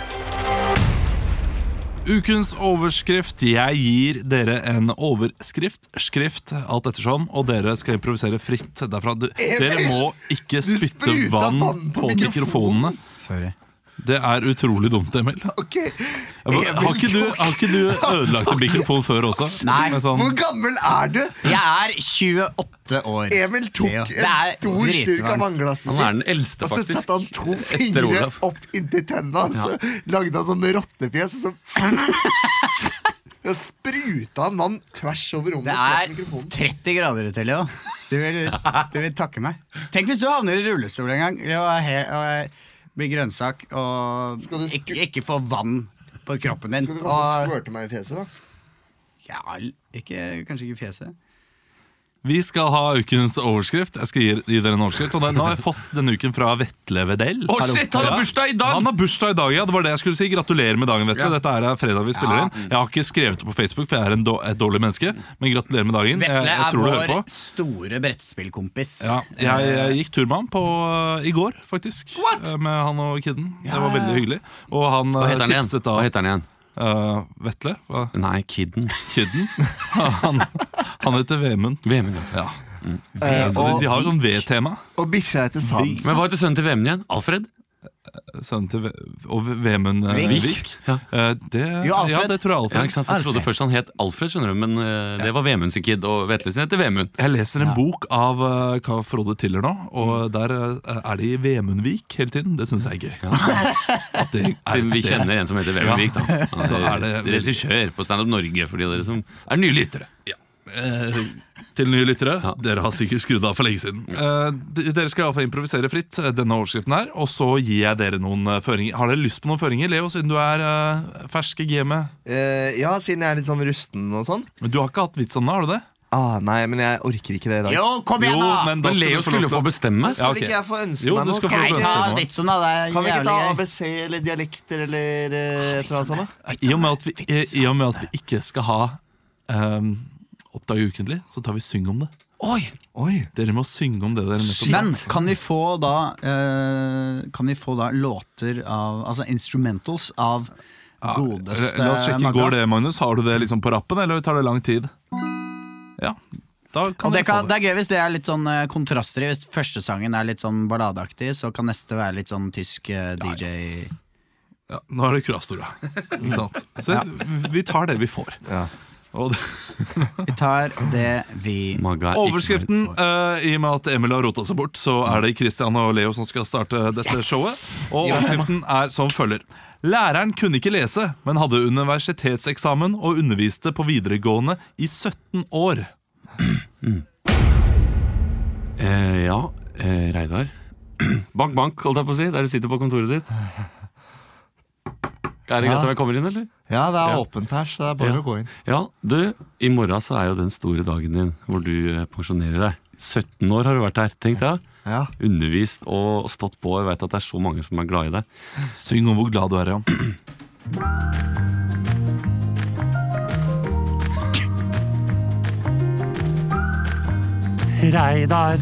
Ukens overskrift. Jeg gir dere en overskrift, skrift, alt ettersom, og dere skal improvisere fritt derfra. Du, dere må ikke Eh, Du spytte spruta vann vann på på mikrofonene. mikrofonen. Sorry. Det er utrolig dumt, Emil. Ok Emil Har ikke du, har ikke du ødelagt en mikrofon før også? Nei. Med Tok- sånn, Hvor gammel er du? Jeg er 28 år. Emil tok Det er- det en er stor slurk av dritvarmt. vannglasset Han er den sitt eldste, Og så faktisk. satte Altså, han to Etter fingre Olav. opp inntil tennene Og så lagde han sånne rottefjes Og så spruta han vann tvers over Det rommet tvers er mikrofonen. 30 grader ute, Leo. Du vil, du vil takke meg. Tenk hvis du havner i rullestol en gang Leo, og, he, og jeg blir grønnsak og Skal du sku- ikke, ikke får vann på kroppen din. Skal Ah. du komme og Og, Sånn squirte meg i fjeset da? ja, ikke, kanskje ikke fjeset. Vi skal ha ukens overskrift. Jeg skal gi, gi dere en overskrift Og den, Nå har jeg fått denne uken fra Vetle Vedell. Å, shit, han har Ja. bursdag i dag! Han har bursdag i dag, ja, det var det jeg skulle si Gratulerer med dagen, Vetle. Ja. Dette er fredag vi spiller inn. Jeg har ikke skrevet det på Facebook, for jeg er en då- et dårlig menneske. Men gratulerer med dagen. Jeg, Vetle jeg er tror du vår hører på. store brettspillkompis. Ja, jeg, jeg gikk tur med han på, øh, i går, faktisk. Eh, Med han og kidden. Det var veldig hyggelig. Og han Hva øh, heter han igjen? tipset da Hva heter han igjen? øh, Vetle. Hva? Nei, Kidden. Kidden. han, han heter Vemund. Vemund, ja. Ja. Eh, Så de, og, de har sånn V-tema. og bikkja heter Sans Men hva heter sønnen til Vemund igjen? Alfred? Sønnen til Ve- og Vemund eh, Vik. Vik. Ja. Eh, Det, Jo, Alfred. ja, det tror jeg Alfred. Ja, ikke sant? For Jeg trodde først han het Alfred, skjønner du, men eh, det var Vemund sin kid. Og Vetle sin heter Vemund. Jeg leser en bok av eh, hva Frode Tiller nå, Mm. og der eh, er de i Vemundvik hele tiden. Det syns jeg er gøy. At det er Siden et vi sted. kjenner en som heter Vemund Vik, da. Så er Altså, det- Regissør på Stand Up Norge, for de av dere som er nye lyttere. Eh, Til nye lyttere, Ja. dere har sikkert skrudd av for lenge siden. Eh, de- Dere skal iallfall improvisere fritt, eh, denne overskriften her, og så gir jeg dere noen eh, føringer. Har dere lyst på noen føringer, Leo, siden du er eh, fersk i gamet? Eh, Ja, siden jeg er litt sånn rusten og sånn Men Du har ikke hatt vits om det, har du det? ah, Nei, men jeg orker ikke det i dag Jo, kom igjen, Jo, da! men da Men skal du Leo få lov til skulle få å- bestemme. Ja, Kan ok. ikke jeg få ønske Jo, meg du noe? skal Nei, få lov til å ta ønske deg noe. litt sånn, da. Det er Kan vi ikke jævlig ta gøy. ABC eller dialekter eller eh, Ah, et eller annet sånt? da? I og med at vi, sånn i og med at vi ikke skal ha um, Oppdag ukentlig, så tar vi syng om det. Oi! Oi, Dere må synge om det dere nettopp sa. Men kan vi få da eh, Kan vi få da låter av Altså instrumentals av godeste La oss sjekke, Magga? går det, Magnus? Har du det liksom på rappen, eller tar det lang tid? Ja, da kan Og det, dere kan, det få det. er gøy hvis det er litt sånn eh, kontraster. i. Hvis første sangen er litt sånn balladeaktig, så kan neste være litt sånn tysk eh, DJ. Ja, nå er det kurastora. Ikke sant? Så vi tar det vi får. Ja. Og det, Vi tar det vi Magga er ikke overskriften, eh, i og med at Emil har rota seg bort, så er det Christian og Leo som skal starte dette showet. Og overskriften er som følger. Læreren kunne ikke lese, men hadde universitetseksamen og underviste på videregående i 17 år. Eh, ja, eh, Reidar. Bank, bank, holdt jeg på å si, der du sitter på kontoret ditt. Er det greit om jeg kommer inn, eller? ja det er åpent her, så det er bare å gå inn. Ja, du, i morgen så er jo den store dagen din hvor du eh, pensjonerer deg. 17 år har du vært her, tenk deg. Ja. Undervist og stått på. Jeg veit at det er så mange som er glad i deg. Syng om hvor glad du er, Jan. Reidar,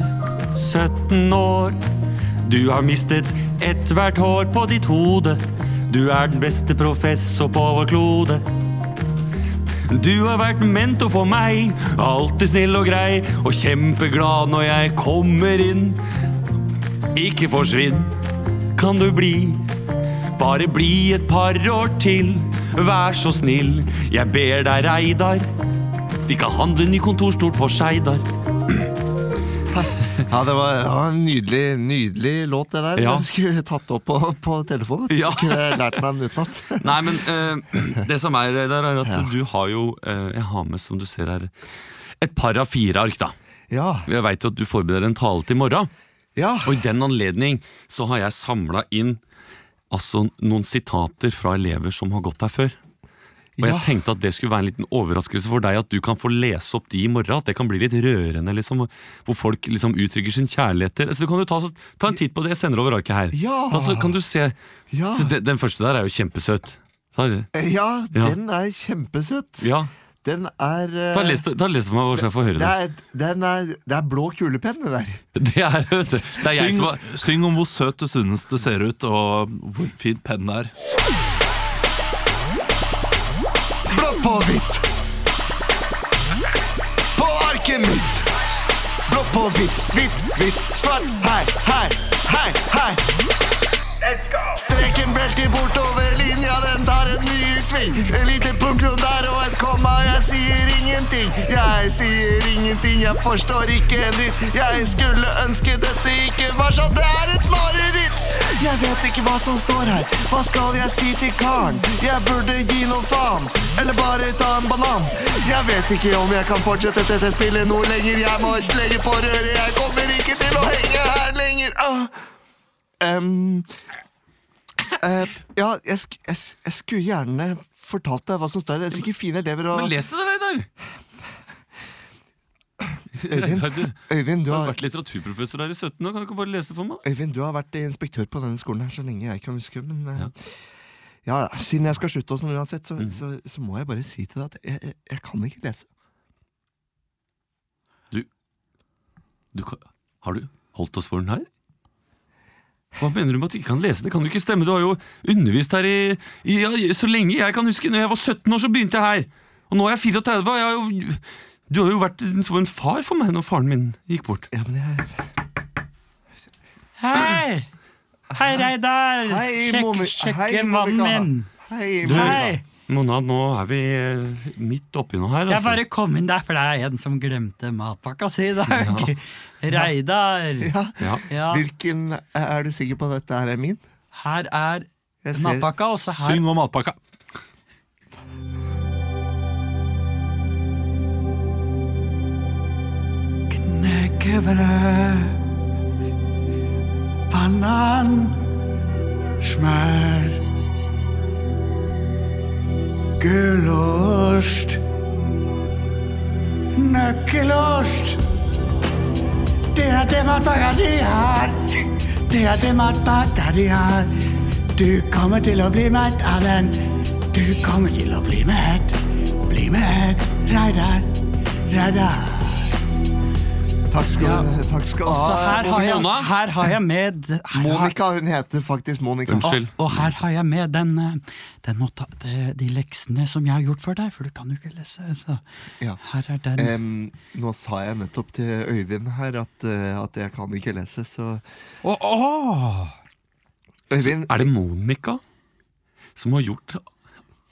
17 år. Du har mistet ethvert hår på ditt hode. Du er den beste professor på vår klode. Du har vært mentor for meg, alltid snill og grei og kjempeglad når jeg kommer inn. Ikke forsvinn, kan du bli. Bare bli et par år til, vær så snill. Jeg ber deg, Reidar. Vi kan handle ny kontorstol på Skeidar. Ja, det var, det var en nydelig, nydelig låt, det der. Ja. Men du skulle tatt opp på, på telefonen. Ja. Ja. Skulle jeg lært meg den utenat. Nei, men eh, det som er der, er at du har jo eh, Jeg har med, som du ser her, et par av fire ark, da. Ja. Jeg veit jo at du forbereder en tale til i morgen. ja. Og i den anledning så har jeg samla inn altså, noen sitater fra elever som har gått her før. Og jeg Ja. tenkte at det skulle være en liten overraskelse for deg at du kan få lese opp de i morgen. At det kan bli litt rørende, liksom, hvor folk liksom uttrykker sin kjærlighet til Så du kan jo ta, så, ta en titt på det jeg sender over arket her. Ja. Da, så kan du se. Ja. Så den, den første der er jo kjempesøt. Ta, ja, Ja. den er kjempesøt. ja. Den er eh, ta, les, det- ta les det for meg, så jeg får høre det det. er, den er, det er blå kulepenn, det der. Det er, vet du, det er jeg Syng, som har syng om hvor søt du synes det ser ut, og hvor fin pennen er. Blått på hvitt. På arket mitt. Blått på hvitt, hvitt, hvitt. Svart her, her, her, her. Streken velter bortover linja, den tar en ny sving. Et lite punktum der og et komma, jeg sier ingenting. Jeg sier ingenting, jeg forstår ikke en dritt. Jeg skulle ønske dette ikke var sånn, det er et mareritt. Jeg vet ikke hva som står her, hva skal jeg si til karen? Jeg burde gi noe faen, eller bare ta en banan. Jeg vet ikke om jeg kan fortsette dette spillet noe lenger, jeg må slenge på røret, jeg kommer ikke til å henge her lenger. Ah. Em, eh, ja, jeg, sk jeg, s- jeg skulle gjerne fortalt deg hva som står her. Det er sikkert fine elever og Men les det, Reidar! Reidar, du Øyvind, du du har har, vært litteraturprofessor her i 17 år, kan du ikke bare lese det for meg? Øyvind, du har vært inspektør på denne skolen her så lenge jeg kan huske, men eh, ja. siden jeg skal slutte og sånn uansett, så, Mhm. så, så må jeg bare si til deg at jeg, jeg, jeg kan ikke lese. Du, kan- har du holdt oss for den her? Hva mener du med at du ikke kan lese? Det kan jo ikke stemme. Du har jo undervist her i, i ja, så lenge jeg kan huske. Når jeg var 17 år, så begynte jeg her. Og nå er jeg 34. og Jeg har jo, du har jo vært som en far for meg når faren min gikk bort. Ja, men jeg... Hei! Hei, Reidar! Hei, Sjekk- Moni- Sjekke hei, mannen Monica. min. Hei, Du, Monica. Hei. Mona, nå er vi eh, midt oppi noe her. Jeg Altså. bare kom inn der, for det er en som glemte matpakka si i dag. Reidar. Ja. Ja, Hvilken eh, Er du sikker på at dette her er min? her er Jeg ser- matpakka, og så her Syng om matpakka. Knekkebrød, banan, smør, gulost, nøkkelost. Det er det matpakka de har. Det er det matpakka de har. Du kommer til å bli mett av den. Du kommer til å bli mett. Bli mett. Reidar. Reidar. Takk skal, takk skal du Så ha. her har jeg, Ah, Mona? her har jeg med her har, Ah, Monica, hun heter faktisk Monica. Unnskyld. Og her har jeg med den, eh, den nota, de, de leksene som jeg har gjort for deg, for du kan jo ikke lese. Så Ja. her er den. Eh. Em, nå sa jeg nettopp til Øyvind her at, eh, at jeg kan ikke lese, så Å, å! Øyvind, Er det Monica som har gjort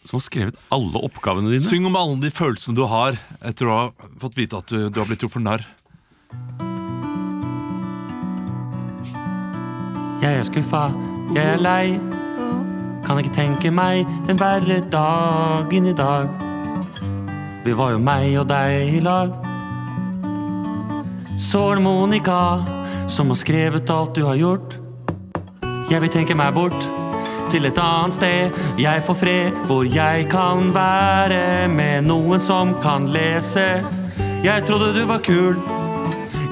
Som har skrevet alle oppgavene dine? Syng om alle de følelsene du har etter å ha fått vite at du, du har blitt gjort for narr. Jeg er skuffa, jeg er lei. Kan ikke tenke meg en verre dag enn i dag. Vi var jo meg og deg i lag. Så er det Monica som har skrevet alt du har gjort. Jeg vil tenke meg bort til et annet sted. Jeg får fred hvor jeg kan være med noen som kan lese. Jeg trodde du var kul.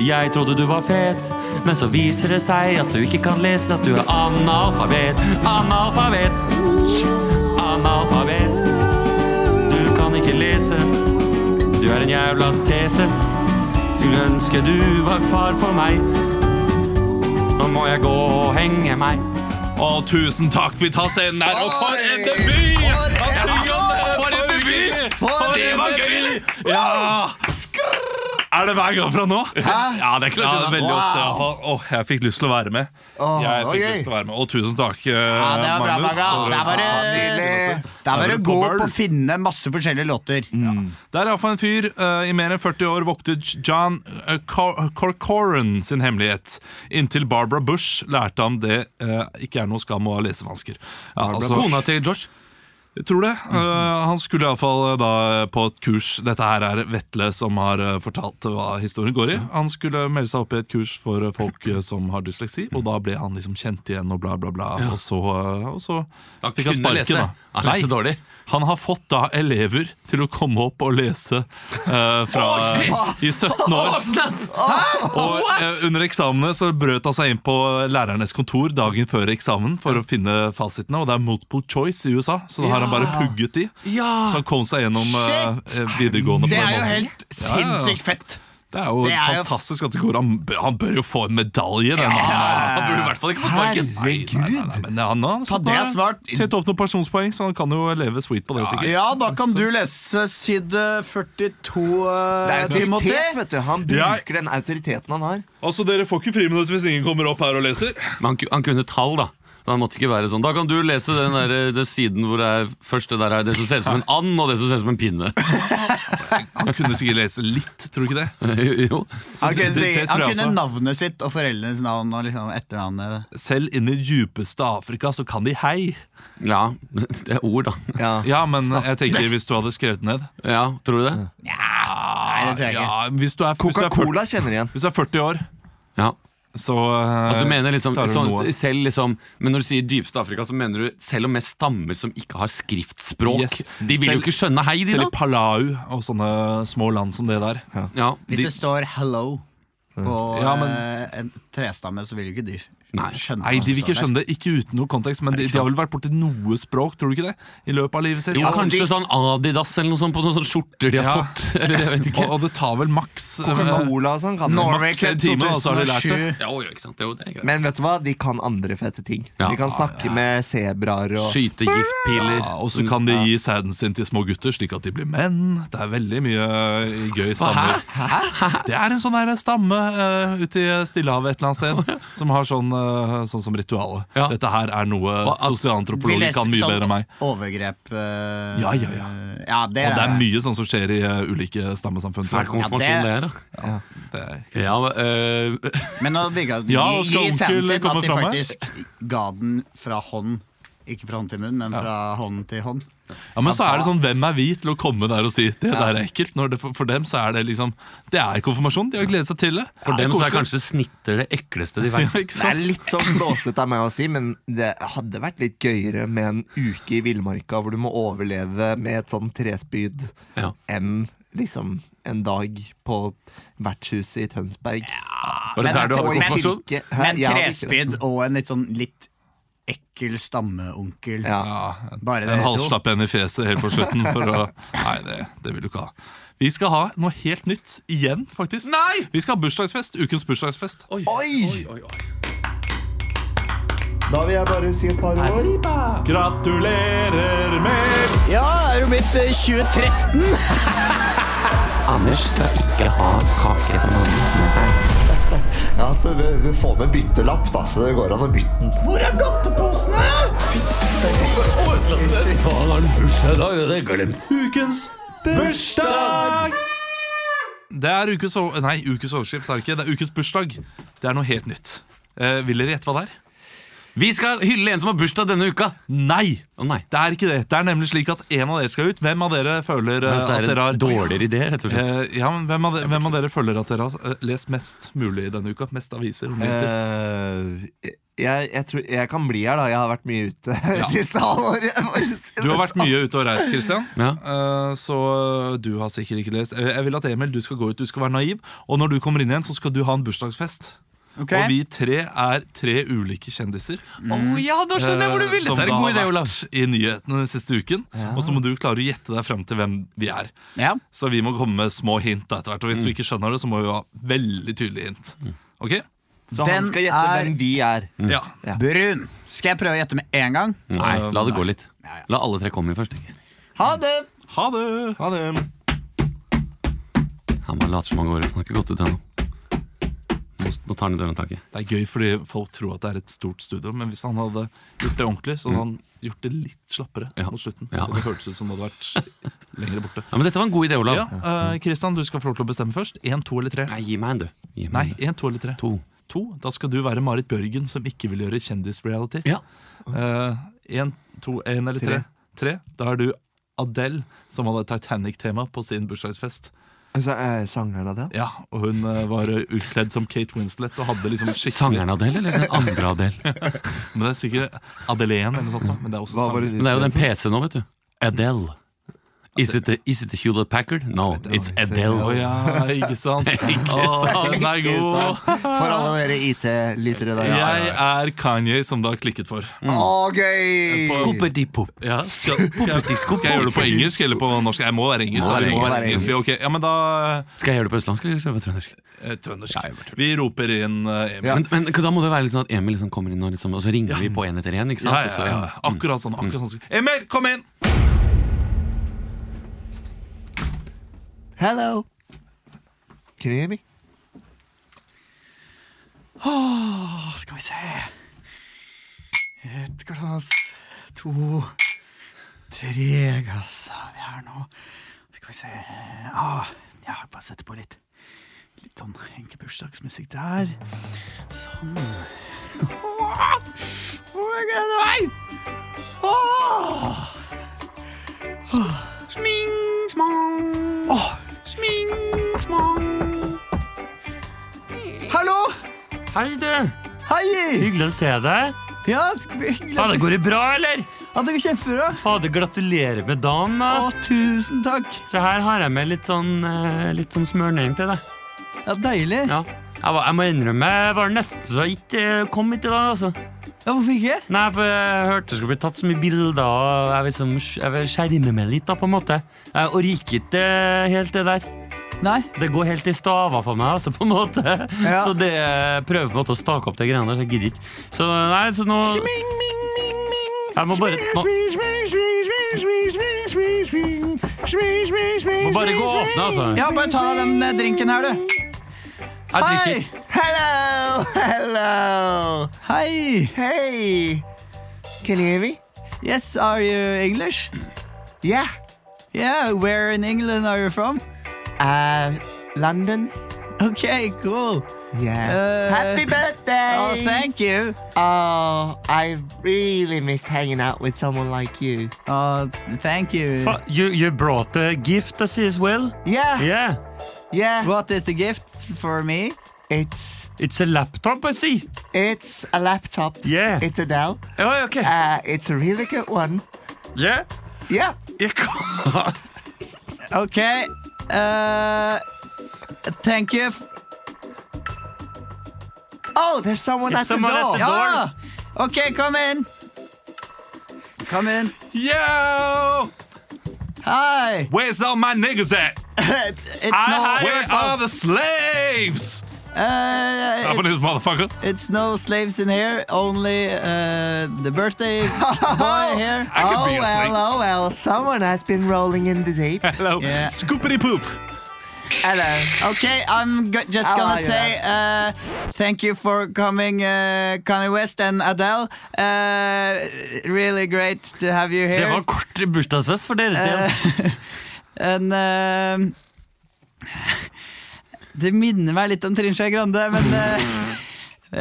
Jeg trodde du var fet, men så viser det seg at du ikke kan lese, at du er analfabet. Analfabet. Analfabet. Du kan ikke lese. Du er en jævla tese. Skulle ønske du var far for meg. Nå må jeg gå og henge meg. Og tusen takk, vi tar scenen her. Og for en debut! For Han en- synger om det. For en debut! For det var gøy! Ja! Er det hver gang fra nå? Ja, det er klart ja, det er veldig ofte. i hvert fall. Åh, jeg fikk lyst til å være med. jeg fikk lyst til å være med. Og tusen takk, eh, Ja, det var bra, Magnus. Maga. for- Det er bare, det er er bare å du Mm. på gå bøl? opp og finne masse forskjellige låter. Det er iallfall en fyr eh, i mer enn 40 år voktet John eh, Cor- Corcoran sin hemmelighet. Inntil Barbara Bush lærte ham det eh, ikke er noe skam å ha lesevansker. Ja, altså, Kona til Josh. jeg tror det. Eh, han skulle iallfall eh, da på et kurs Dette her er Vetle som har eh, fortalt hva historien går i. Han skulle melde seg opp i et kurs for eh, folk eh, som har dysleksi, og da ble han liksom kjent igjen og bla, bla, bla. Og så, eh, og så Han fikk han kunne lese. sparken, da. Han leste Nei. dårlig. Han har fått da elever til å komme opp og lese eh, fra, i 17 år. og eh, under eksamene så brøt han seg inn på lærernes kontor dagen før eksamen for å finne fasitene, og det er multiple choice i USA, så da har han bare pugget de. Så han kom seg gjennom eh, eh, videregående. på Det den er jo måten. helt Ja, ja, ja. sinnssykt fett. Det er jo det er jo- fantastisk at det går. Han, bør- han bør jo få en medalje. Den, Han burde i hvert fall ikke få sparken. Herregud! Men han har Ta det smart. tett opp noen pensjonspoeng, så han kan jo leve sweet på det, sikkert. Ja, da kan du lese side 42, Det er eh, Timothy. autoritet, vet du. Han Ja. bruker den autoriteten han har. Altså, Dere får ikke friminutt hvis ingen kommer opp her og leser. Men han, ku- han kunne tall, da. Så han måtte ikke være sånn Da kan du lese den, der, den siden hvor det er først det der er det som ser ut som en and, og det som ser ut som en pinne. Han kunne sikkert lese litt, tror du ikke det? jo. Han kunne, det- det si- han tror jeg altså- kunne også. navnet sitt og foreldrenes navn og liksom etternavnet. Selv inn i djupeste Afrika så kan de hei. Ja, det er ord, da. Ja. Ja, men jeg tenker hvis du hadde skrevet det ned Ja, tror du det? Nei, det tror jeg ikke. ja, hvis, du er, hvis, du er 40, Coca-Cola kjenner igjen. hvis du er 40 år, Ja. så Altså, du mener liksom, Eh, Klarer du sånn, noe? selv liksom Men når du sier dypeste Afrika, så mener du selv om med stammer som ikke har skriftspråk. Yes. De vil Selv- jo ikke skjønne hei, de, Selv i da. Palau og sånne små land som det der. Ja, Hvis de, det står 'hello' på Mm. Ja, men- eh, en trestamme, så vil jo ikke de Nei. skjønne Nei, hva som de vil ikke står der. skjønne det, ikke uten noe kontekst, men de, de har vel vært borti noe språk, tror du ikke det? I løpet av livet sitt. jo, Altså, kanskje sånn Adidas eller noe sånt på noen sånne skjorter de har Ja. fått. Eller jeg vet ikke. og, og det tar vel maks eh, Cola og sånn kan de. Norway Maks Cup en time, og så har de lært det. 2007. Jo, jo, ikke sant. Jo, det er greit. Men vet du hva? De kan andre fete ting. Ja. De kan snakke med sebraer og Skyte giftpiler. Ja, og så kan de gi sæden sin til små gutter, slik at de blir menn. Det er veldig mye eh, gøy stammer. Det er en sånn her stamme eh, ute i Stillehavet et eller annet sted som har sånn, eh, sånn som ritualet. Ja. Dette her er noe Hva, at- Vi sosialantropologer leser kan mye sånn bedre enn meg. Overgrep eh, Ja, ja, ja. ja, det Og det er er mye sånn som skjer i eh, ulike stammesamfunn. tror jeg. Fæl konfirmasjon det er, da. Det er- Ja, men, øh, Men nå digga de Ja, og skal gi sæden onkel sin komme at de fram her? faktisk ga den fra hånd. Ikke fra hånd til munn, men fra hånd til hånd. Ja, Men så er det sånn, hvem er vi til å komme der og si det der er ekkelt? Når det, for, for dem så er det liksom Det er konfirmasjon. De har gledet seg til det. For dem så er koselig. kanskje snitter det ekleste de vet. Ikke Det sant? er litt sånn flåsete av meg å si, men det hadde vært litt gøyere med en uke i villmarka hvor du må overleve med et sånn trespyd, Ja. enn liksom en dag på vertshuset i Tønsberg. Var det Men- der du hadde Og i konfirmasjon? kirke. Hæ? Men Ja, ikke det. trespyd og en litt sånn litt ekkel stammeonkel. Ja. Ja, Bare En dere to. halvslapp en i fjeset helt på slutten. For å, nei, det, det vil du ikke ha. Vi skal ha noe helt nytt igjen, faktisk. Nei! Vi skal ha bursdagsfest. Ukens bursdagsfest. Oi! Da vil jeg bare si et par år. Gratulerer med Ja, er du blitt eh, 23? Anders skal ikke ha kake som han Ja, så du, du får med byttelapp, da, så det går an å bytte den. Hvor er godteposene? Ukens bursdag! Det er ukes, over- nei, ukes overskrift, er det ikke. Det er ukens bursdag. Det er noe helt nytt. Eh, vil dere gjette hva det er? Vi skal hylle en som har bursdag denne uka! Nei! Å nei. Det er ikke det. Det er nemlig slik at en av dere skal ut. Hvem av dere føler eh, Altså, at det er dere en har dårligere idé, rett og slett. Eh, ja, men hvem av, de, hvem av dere føler at dere har eh, lest mest mulig denne uka? Mest aviser? nyheter? Eh, jeg, jeg, tror, jeg kan bli her, da. Jeg har vært mye ute siste halvåret. jeg må si Du har det vært mye ute og reist, Christian. Ja. Eh, så du har sikkert ikke lest. Eh, jeg vil at Emil, du skal gå ut, du skal være naiv. Og når du kommer inn igjen, så skal du ha en bursdagsfest. Ok. Og vi tre er tre ulike kjendiser. Eh, Å ja, da skjønner jeg hvor du vil! som Dette er da en god idé, har Olav. vært I nyhetene den siste uken. Og så må du klare å gjette deg fram til hvem vi er. Ja. Så vi må komme med små hint da, etter hvert. Og hvis Mm. du ikke skjønner det, så må vi ha veldig tydelige hint. Ok? sånn. Mm. Så han Den skal gjette er- hvem vi er. Mm. Ja. Brun. Skal jeg prøve å gjette med en gang? Nei, la det gå litt. La alle tre komme først. tenker jeg. Ha det! Ha det! Ha det. Han bare later som han går ut. Han har ikke gått ut ennå. Nå nå tar han i dørhåndtaket. Det er gøy fordi folk tror at det er et stort studio, men hvis han hadde gjort det ordentlig, så hadde han gjort det litt slappere Ja. mot slutten. Ja. Så det hørtes ut som det hadde vært lenger borte. Ja, men dette var en god idé, Olav. Ja, eh, Christian, du skal få lov til å bestemme først. Én, to eller tre? Nei, gi meg en, du. Gi meg Nei, en, du. én, to eller tre. To. To. Da skal du være Marit Bjørgen, som ikke vil gjøre kjendisreality. Ja. Én, to, én eller tre. tre. Da er du Adele, som hadde Titanic-tema på sin bursdagsfest. Altså, er sangeren av det? Ja, og hun eh, var utkledd som Kate Winslet og hadde liksom skikkelig Sangeren Adele, eller den andre Adele? Men det er sikkert Adeleen eller noe sånt. da, Men det er også Hva var sanger. det Men det er jo den PC nå, vet du. Adele. Is it, the, is it the Hewlett Packard? No, it's Å Adele. ja, ikke sant? Ikke Å, den er god! For alle dere IT-lyttere der. Jeg er Kanye, som det har klikket for. Mm. Å, gøy! Scoopity-pop. Ja, skal, skal, jeg, skal jeg gjøre det på engelsk eller på norsk? Jeg må være engelsk. Må da, være vi må engelsk. være engelsk. Vi- ok, Ja, men da Skal jeg gjøre det på østlandsk eller skal jeg på trøndersk? eh, Trøndersk. jeg bare tuller. Vi roper inn eh, Men, Emil. men da må det være litt sånn at Emil liksom kommer inn, og, liksom, og så ringer vi på en etter en, ikke sant? Ja, ja, ja. Mm. Akkurat sånn. akkurat sånn Mm. Emil, kom inn! Hello. Can you hear me? Åh, skal vi se Et glass, to, tre glass har vi her nå. Skal vi se ah, Jeg har bare setter på litt Litt sånn enkel bursdagsmusikk der. Sånn. Åh, åh, jeg gleder meg! Åh. Åh. Åh. Hallo! Hei, du! Hei! Hyggelig å se deg. Ja, sk- hyggelig. Ja, det går det bra, eller? Ja, det går kjempebra. Fader, gratulerer med dagen, da. Å, tusen takk. Så her har jeg med litt sånn, eh, litt sånn smørning til deg. Ja, Deilig. Ja. Jeg, var, jeg må innrømme, jeg var nesten så jeg ikke eh, kom hit i dag, altså. Ja, Hvorfor ikke? Nei, for jeg hørte det skulle bli tatt så mye bilder, og jeg vil, liksom, sk- jeg vil skjerme meg litt, da, på en måte. Eh, Jeg orker ikke helt det der. Nei. Det går helt i staver for meg, altså, på en måte. Så det jeg prøver på en måte å stake opp de greiene der, så jeg gidder ikke. Så nei, så nå Jeg må bare må, må bare gå og åpne, altså. Ja, bare ta deg den eh, drinken her, du. Jeg drikker ikke. Hello, hello. Hei! Hey. Can you hear me? Yes, are you English? Yeah. Yeah, where in England are you from? Uh, London. Okay, cool. Yeah. Uh, Happy birthday. Oh, thank you. Oh, I really missed hanging out with someone like you. Oh, thank you. Fa- You, you brought a eh, gift, I see as well. Yeah. Yeah, Yeah. What is the gift for me? It's it's a laptop, I see. it's a laptop. Yeah. It's a Dell. Oh, okay. Uh, it's a really good one. Yeah. Yeah. Okay. Uh, thank you. F Oh, there's someone There's at someone the at door. the door. ja! Ok, kom inn. Kom inn. Yo! Hei. Where's all my niggas at? It's Hei, no, hei. Where are the slaves? uh, Up in this motherfucker. it's no slaves in here. Only uh, the birthday boy here. could Oh be a snake. well, oh well. Someone has been rolling in the deep. Hello. Yeah. Scoopity poop. Hello. Okay, I'm go- just How are gonna you, say uh, thank you for coming, uh, Kanye West and Adele. Uh, really great to have you Det here. var kort bursdagsfest for deres del. En, ehm, det minner meg litt om Trine Skei Grande, men eh,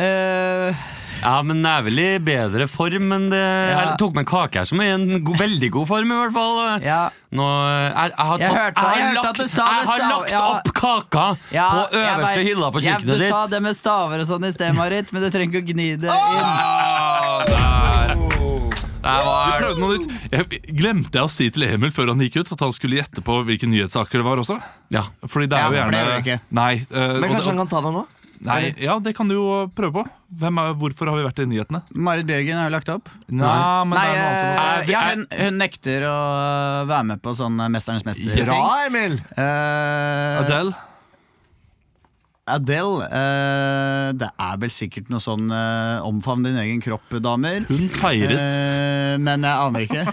eh, Ja, men den er vel i bedre form, men det jeg tok med en kake her som er i en go veldig god form, i hvert fall. Ja. Nå, jeg, jeg har Jeg tatt- hørte- jeg hørte lagt, at du sa det, jeg har sa- lagt ja. opp kaka ja, på jeg øverste vet. hylla på Ja, kjøkkenet Du sa ditt. det med staver og sånn i sted, Marit, men du trenger ikke å gni det inn. Jeg Vi var, prøvde noe nytt. Jeg, glemte jeg å si til Emil før han gikk ut, at han skulle gjette på hvilke nyhetssaker det var også? Ja. Fordi det er jo Ja, for det gjerne gjør vi ikke. Nei, eh, Men og kanskje det, han kan ta det nå? nei, ja, det kan du jo prøve på. Hvem er, hvorfor har vi vært i nyhetene? Marit Bjørgen har jo lagt opp. Nei, men Nei, det er noe annet. enn å eh, ja, hun, hun nekter å være med på sånn Mesternes mester. Bra, Emil. si. Eh, Adele. Adele, eh, det er vel sikkert noe sånn eh, omfavn din egen kropp, damer. Hun feiret Eh, men jeg aner ikke.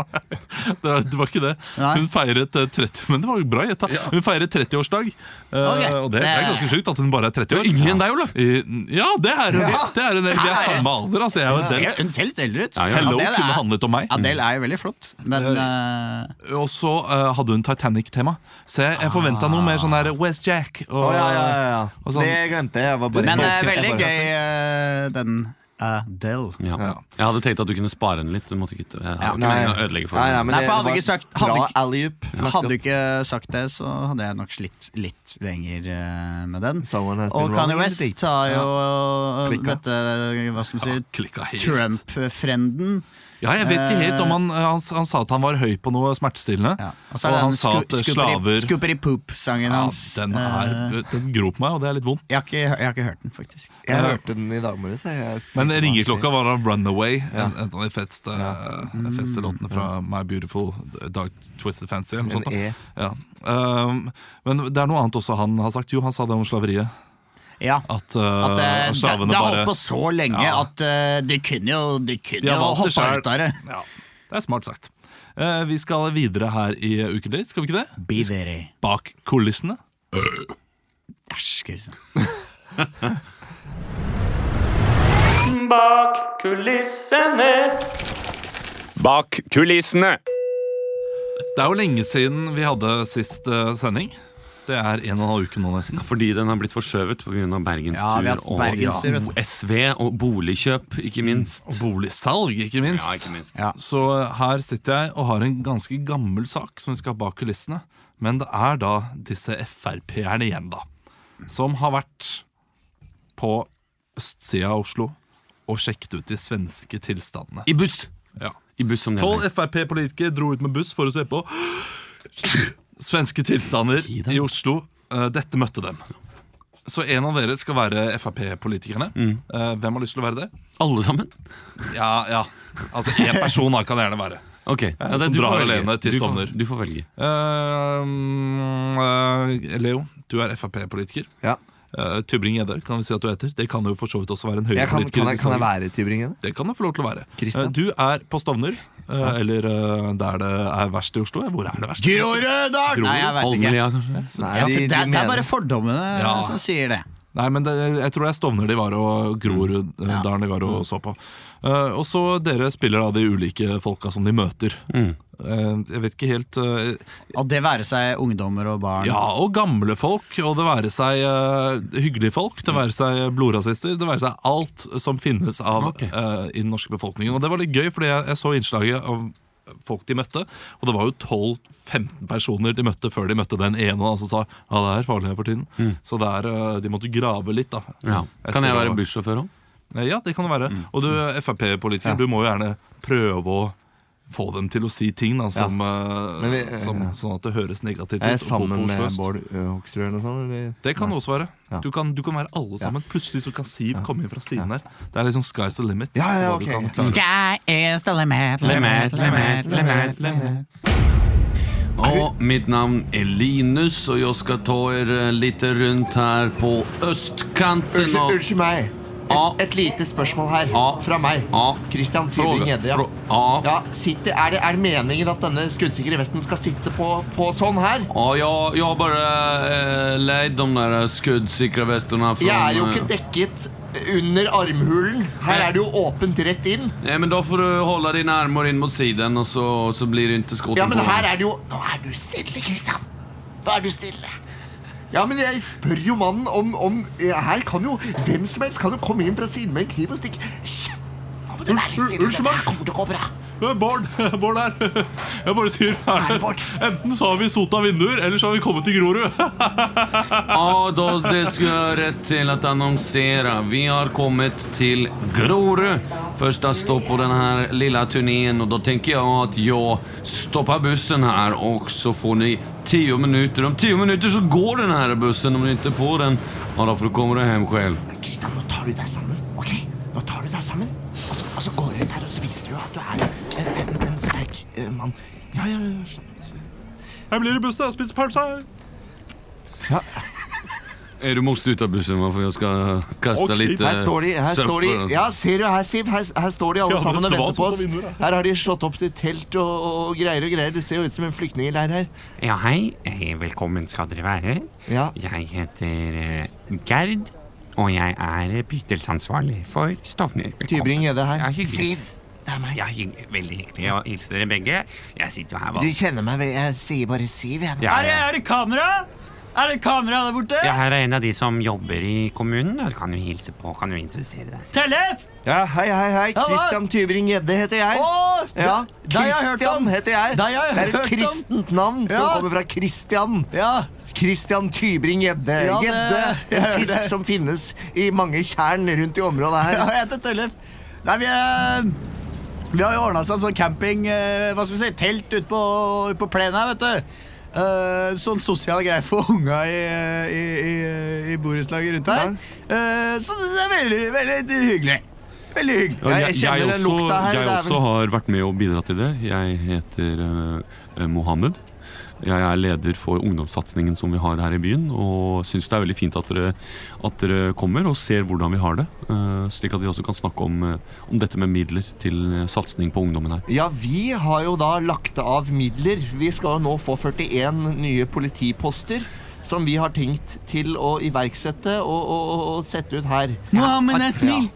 Det var, det var ikke det. Nei. Hun feiret eh, 30 Men det var jo bra gjetta. Hun feiret 30-årsdag. eh, Ok. Og det, det er ganske sjukt at hun bare er 30 år. Yngre enn deg, Olav. Eh, Ja, det er hun. Det er hun. Vi er samme alder, altså. Jeg og Hun Adele. ser- Hun ser litt eldre ut. Ja, ja. Hello Adele er- kunne handlet om meg. Adele er jo veldig flott, men eh, Og så eh, hadde hun Titanic-tema. Så jeg, jeg forventa noe mer sånn der Where's Jack? Og, Å, ja, ja, ja, ja. og sånn. Det glemte jeg. jeg var bare Men eh, jeg bare- veldig gøy, eh, den Adele. Ja. Ja. Jeg hadde tenkt at du kunne spare den litt. Du måtte ikke, jeg hadde ikke meningen å ødelegge for Nei, nei, den. men Nei, det for hadde var ikke sagt- hadde Bra ikke- alley-oop. Hadde du ikke sagt det, så hadde jeg nok slitt litt lenger eh, med den. Someone has been Og Kanye wrong, West ingenting. tar jo eh, Klikka. dette, hva skal man si, Klikka helt. Trump-frenden. Ja, jeg vet ikke helt om han, eh, han, han sa at han var høy på noe smertestillende. Ja. Og, så er det han den sa sku- at eh, Scoopity- slaver Scoopity Poop-sangen ja, hans. den, eh, er, den gror på meg, og det er litt vondt. jeg, har ikke, jeg har ikke hørt den, faktisk. Jeg hørte den i dag morges. jeg- jeg Men tenkte, ringeklokka var da 'Runaway', en, en av de feteste, eh, feteste låtene fra My Beautiful Dark Twisted Fancy. Eller noe sånt, da. En E. ja. um, men det er noe annet også han har sagt. Jo, han sa det om slaveriet. Ja. At, uh, At, eh, at det, slavene det har bare holdt på så lenge Ja. at eh, de kunne jo, de kunne De har jo valgt det hoppe selv. ut av det. ja, Det er smart sagt. Eh, vi skal videre her i Ukentlig, skal vi ikke det? Be there. Bak kulissene. Æsj, Kristian. Bak kulissene. Bak kulissene. Det er jo lenge siden vi hadde sist eh, sending. Det er en og en halv uke nå, nesten. Fordi den har blitt forskjøvet pga. Ja, vi har bergenstur hatt og bergenstur, vet du. SV og boligkjøp, ikke minst. Og boligsalg, ikke minst. Ja, ikke minst. Mm. Ja. Så her sitter jeg og har en ganske gammel sak som vi skal ha bak kulissene. Men det er da disse Frp-erne igjen, da. Som har vært på østsida av Oslo og sjekket ut de svenske tilstandene. I buss! Ja. I buss som det Tolv heter. Frp-politikere dro ut med buss for å se på svenske tilstander i Oslo. Eh, Dette møtte dem. Så en av dere skal være Frp-politikerne. Eh, Hvem har lyst til å være det? Alle sammen? Ja, ja. Altså, én person da kan det gjerne være. Ok. Ja, som du får drar velge. alene til Du får- Stovner. Du får velge. Eh, eh, Leo, du er Frp-politiker. Ja. Eh, Tybring-Gjedde kan vi si at du heter. Det kan jo for så vidt også være en Jeg kan, Høyre-politiker. kan, jeg, kan jeg være Tybringen? Det kan du få lov til å være. Christian? Eh, Du er på Stovner, eh, eller eh, der det er verst i Oslo. Hvor er det verst? Grorødal! Nei, jeg vet ikke. Almelia, kanskje? Nei, Ja, de- det, de det mener- er bare fordommene Ja. som sier det. Nei, men det, jeg tror det er Stovner de var og Mm. Groruddalen de var og så på. Eh, og så dere spiller da de ulike folka som de møter. Mm. Eh, jeg vet ikke helt eh, Og det være seg ungdommer og barn. Ja, og gamle folk, og det være seg eh, hyggelige folk, det være seg blodrasister, det være seg alt som finnes av, Ok. eh, i den norske befolkningen. Og det var litt gøy, fordi jeg, jeg så innslaget av folk de møtte, og det var jo 12-15 personer de møtte før de møtte den ene da, som sa ja, det er farlig her for tiden. Så det er, eh, de måtte grave litt, da. Ja. Kan jeg Etter å- være bussjåfør òg? Nei, Ja, det kan det være. Og du Frp-politiker, du må jo gjerne prøve å få dem til å si ting da, som, eh, Men vi- som, sånn at det høres negativt ut. Jeg er å bo på sammen Oslo med øst. Bård Ø. Hoksrud eller noe sånt? Eller? Det kan det også være. Ja. Du, kan, du kan være alle sammen. Plutselig så kan Siv komme inn fra siden her. Det er liksom sky's the limit. Ja, ja, Hva du ok. kan klare. Sky is the limit, limit, limit, limit, limit. Og mitt navn er Linus, og jeg skal ta dere eh, litt rundt her på østkanten. Unnskyld, av- unnskyld meg. Ja. Et, et lite spørsmål her Ja. fra meg. Ja. Christian Fråga. Tybring-Gjedde. Ja. Frå- ja. Ja, sitter, er, det, er det meningen at denne skuddsikre vesten skal sitte på, på sånn her? Ja, jeg, jeg har bare eh, leid de der skuddsikre vestene fra Jeg er jo ikke dekket under armhulen. Her er det jo åpent rett inn. Nei, men da får du holde dine armer inn mot siden, og så, så blir det ikke skutt Ja, men på her er det jo Nå er du stille, Christian. Nå er du stille. Ja, men jeg spør jo mannen om, om eh, Her kan jo hvem som helst kan jo komme inn fra siden med en kniv og stikke. Hysj! Nå må du være litt stille. Dette her kommer til å gå bra. Eh, Bård, Bård her. Jeg bare sier er det det- Bård? Enten så har vi sota vinduer, eller så har vi kommet til Grorud. Ja, da det skal jeg rett til å annonsere. Vi har kommet til Grorud. Første stopp på denne lille turneen. Og da tenker jeg at jeg stopper bussen her, og så får dere ti minutter. Om ti minutter så går denne bussen, om dere ikke er på den. Ja, da får du komme deg hjem selv. Kristian, nå tar du deg sammen, ok? Nå tar du deg sammen, og så, og så går du ut her, og så viser du at du er en, en, en sterk eh, mann. Ja, ja, ja. Jeg blir i bussen, jeg spiser pølse. Er du måste ut av bussen for jeg skal kaste Ok, litt Her står de, her står de Ja, ser du her, Siv? Her, her står de alle Ja, det- sammen og det var venter på sånn oss. på vinduet, Her har de slått opp til telt og, og greier og greier. Det ser jo ut som en flyktningleir her. Ja, hei. Eh, Velkommen skal dere være. Ja, Jeg heter eh, Gerd, og jeg er bydelsansvarlig for Stovner. Velkommen. Tybring-Gjedde her. Ja, hyggelig. Siv, det er meg. Ja, hygg- veldig hyggelig å hilse dere begge. Jeg sitter jo her Du vanlig. kjenner meg vel? Jeg sier bare Siv, jeg. Ja, ja. Er det kamera? Er det kamera der borte? Ja, her er en av de som jobber i kommunen. da. Du kan jo hilse på, kan jo introdusere deg. Tellef! Ja, hei, hei, hei. Christian Tybring-Gjedde heter jeg. Å, Ja, deg har jeg hørt om. Christian heter jeg. Deg har jeg Det er et hørt om. kristent navn som Ja. kommer fra Christian. Ja, Christian Tybring-Gjedde. Ja, det- Gjedde. jeg En hører fisk det. som finnes i mange tjern rundt i ja, området her. jeg heter Tøllef. Nei, vi, eh, vi har jo ordna oss en sånn camping, eh, hva skal vi si, telt ute på, ut på plenen her, vet du. Eh, sånn sosial greie for unga i, eh, i, i, i borettslaget rundt her. Eh, så det er veldig, veldig hyggelig. Veldig hyggelig. Ja, jeg kjenner den lukta her, Jeg det er vel- også har vært med og bidratt til det. Jeg heter eh, eh, Mohammed. Jeg er leder for ungdomssatsingen som vi har her i byen. Og syns det er veldig fint at dere, at dere kommer og ser hvordan vi har det. eh, slik at vi også kan snakke om, eh, om dette med midler til eh, satsing på ungdommen her. Ja, vi har jo da lagt av midler. Vi skal nå få 41 nye politiposter. Som vi har tenkt til å iverksette og, og, og- og sette ut her. Mohammed er snill!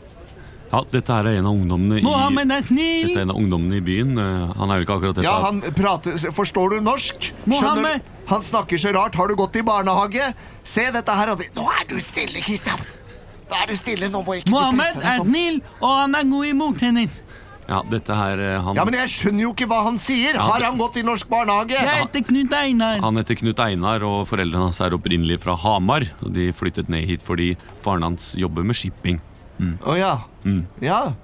Ja, dette her er en av ungdommene i Mohammed er snill! dette er en av ungdommene i byen. Eh, Han er vel ikke akkurat dette. Ja, han prater Forstår du norsk? Mohammed! du? Han snakker så rart. Har du gått i barnehage? Se, dette her hadde Nå er du stille, Kristian! Nå er du stille, nå må ikke Mohammed du presse er deg sånn. snill, og han er god i mordtenner. Ja, dette her, eh, han, Ja, men jeg skjønner jo ikke hva han sier! Ja, Har det- han gått i norsk barnehage? Jeg heter Knut Einar. han heter Knut Einar, og foreldrene hans er opprinnelig fra Hamar. og De flyttet ned hit fordi faren hans jobber med shipping. Å ja. Ja.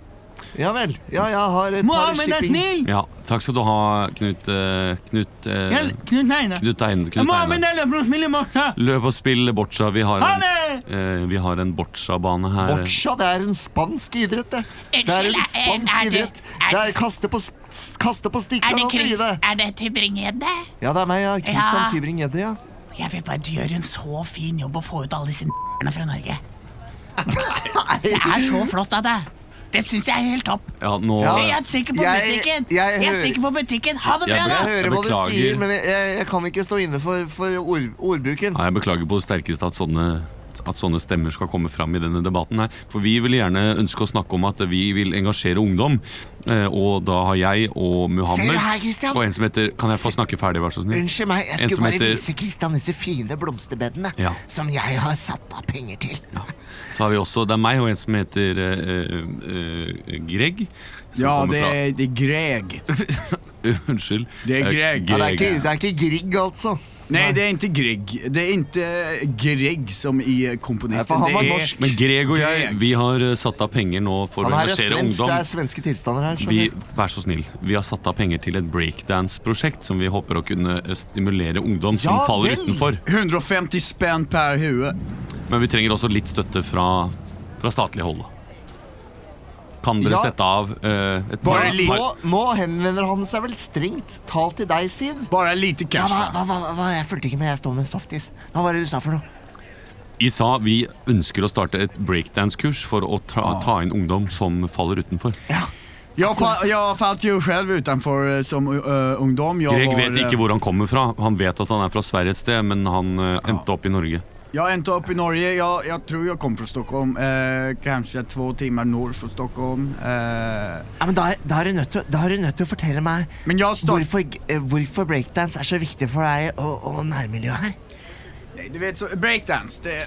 Ja vel. Ja, jeg har et par Mohammed er shipping... snill! Ja, takk skal du ha, Knut eh, Knut, eh, Jeg- Knut Einar. Knut Ein- Knut Mohammed Einar. er løper og spiller morsa. Løp og spill boccia. Vi har Ha en, det! eh, vi har en boccia-bane her. Boccia, det er en spansk idrett, det. Det er en spansk idrett. Det er kaste på, s- kaste på stikk og alt i livet. Er det Tybring-Gjedde? Ja, det er meg, ja. Christian Tybring-Gjedde, ja. Jeg vil bare gjøre en så fin jobb og få ut alle disse n***erne fra Norge. Det er så flott av deg. Det syns jeg er helt topp. Ja, nå, Ja. Jeg er sikker på Jeg- butikken. jeg Jeg er hører- sikker på butikken. Ha det Jeg bra, ble- da! Jeg hører Jeg hva du beklager. sier, men jeg, jeg, jeg kan ikke stå inne for, for ord, ordbruken. Nei, jeg beklager på det sterkeste at sånne, at sånne stemmer skal komme fram i denne debatten. her. For vi vil gjerne ønske å snakke om at vi vil engasjere ungdom. eh, Og da har jeg og Ser Muhammed du her, Christian? og en som heter Kan jeg få snakke ferdig, vær så snill? Unnskyld meg, jeg En skulle som bare heter- vise Kristian disse fine blomsterbedene Ja. som jeg har satt av penger til. Så har vi også, Det er meg og en som heter eh, eh, eh, Greg. Som kommer fra det er Greg. Unnskyld. Det er Eh, Greg. Ja, det, er ikke, det er ikke Grieg, altså. Nei, det er ikke Greg. Det er ikke eh, Greg som i komponisten. Nei, Eh, for han var Det er- norsk. Men Greg og jeg Greg. vi har eh, satt av penger nå for å Han her er engasjere svensk, det ungdom. er svenske tilstander her. Vi, skjønner du. vær så snill, vi har satt av penger til et breakdance-prosjekt som vi håper å kunne eh, stimulere ungdom som Ja faller vel. utenfor. 150 spenn per hue. Men vi trenger også litt støtte fra, fra statlig hold. Kan dere Ja. sette av eh, et par, Bare litt. par Nå, nå henvender han seg vel strengt talt til deg, Siv? Bare lite Ja, hva, cash. hva, hva, hva, Jeg fulgte ikke med, jeg står med en softis. Hva var det du sa for noe? ISA, vi ønsker å starte et breakdance-kurs for å ta, Ah. ta inn ungdom som faller utenfor. Jeg, fa jeg falt jo selv utenfor eh, som eh, ungdom. Jeg Greg var, vet eh, ikke hvor han kommer fra. Han vet at han er fra Sverige et sted, men han eh, endte opp i Norge. Jeg endte opp i Norge. Jeg, jeg tror jeg kom fra Stockholm. Eh, kanskje to timer nord for Stockholm. Eh, Ja, men da, er- da er du nødt til, da er du nødt til å fortelle meg men jeg startet hvorfor, eh, hvorfor breakdance er så viktig for deg og, og nærmiljøet her. Nej, du vet så, breakdance, det,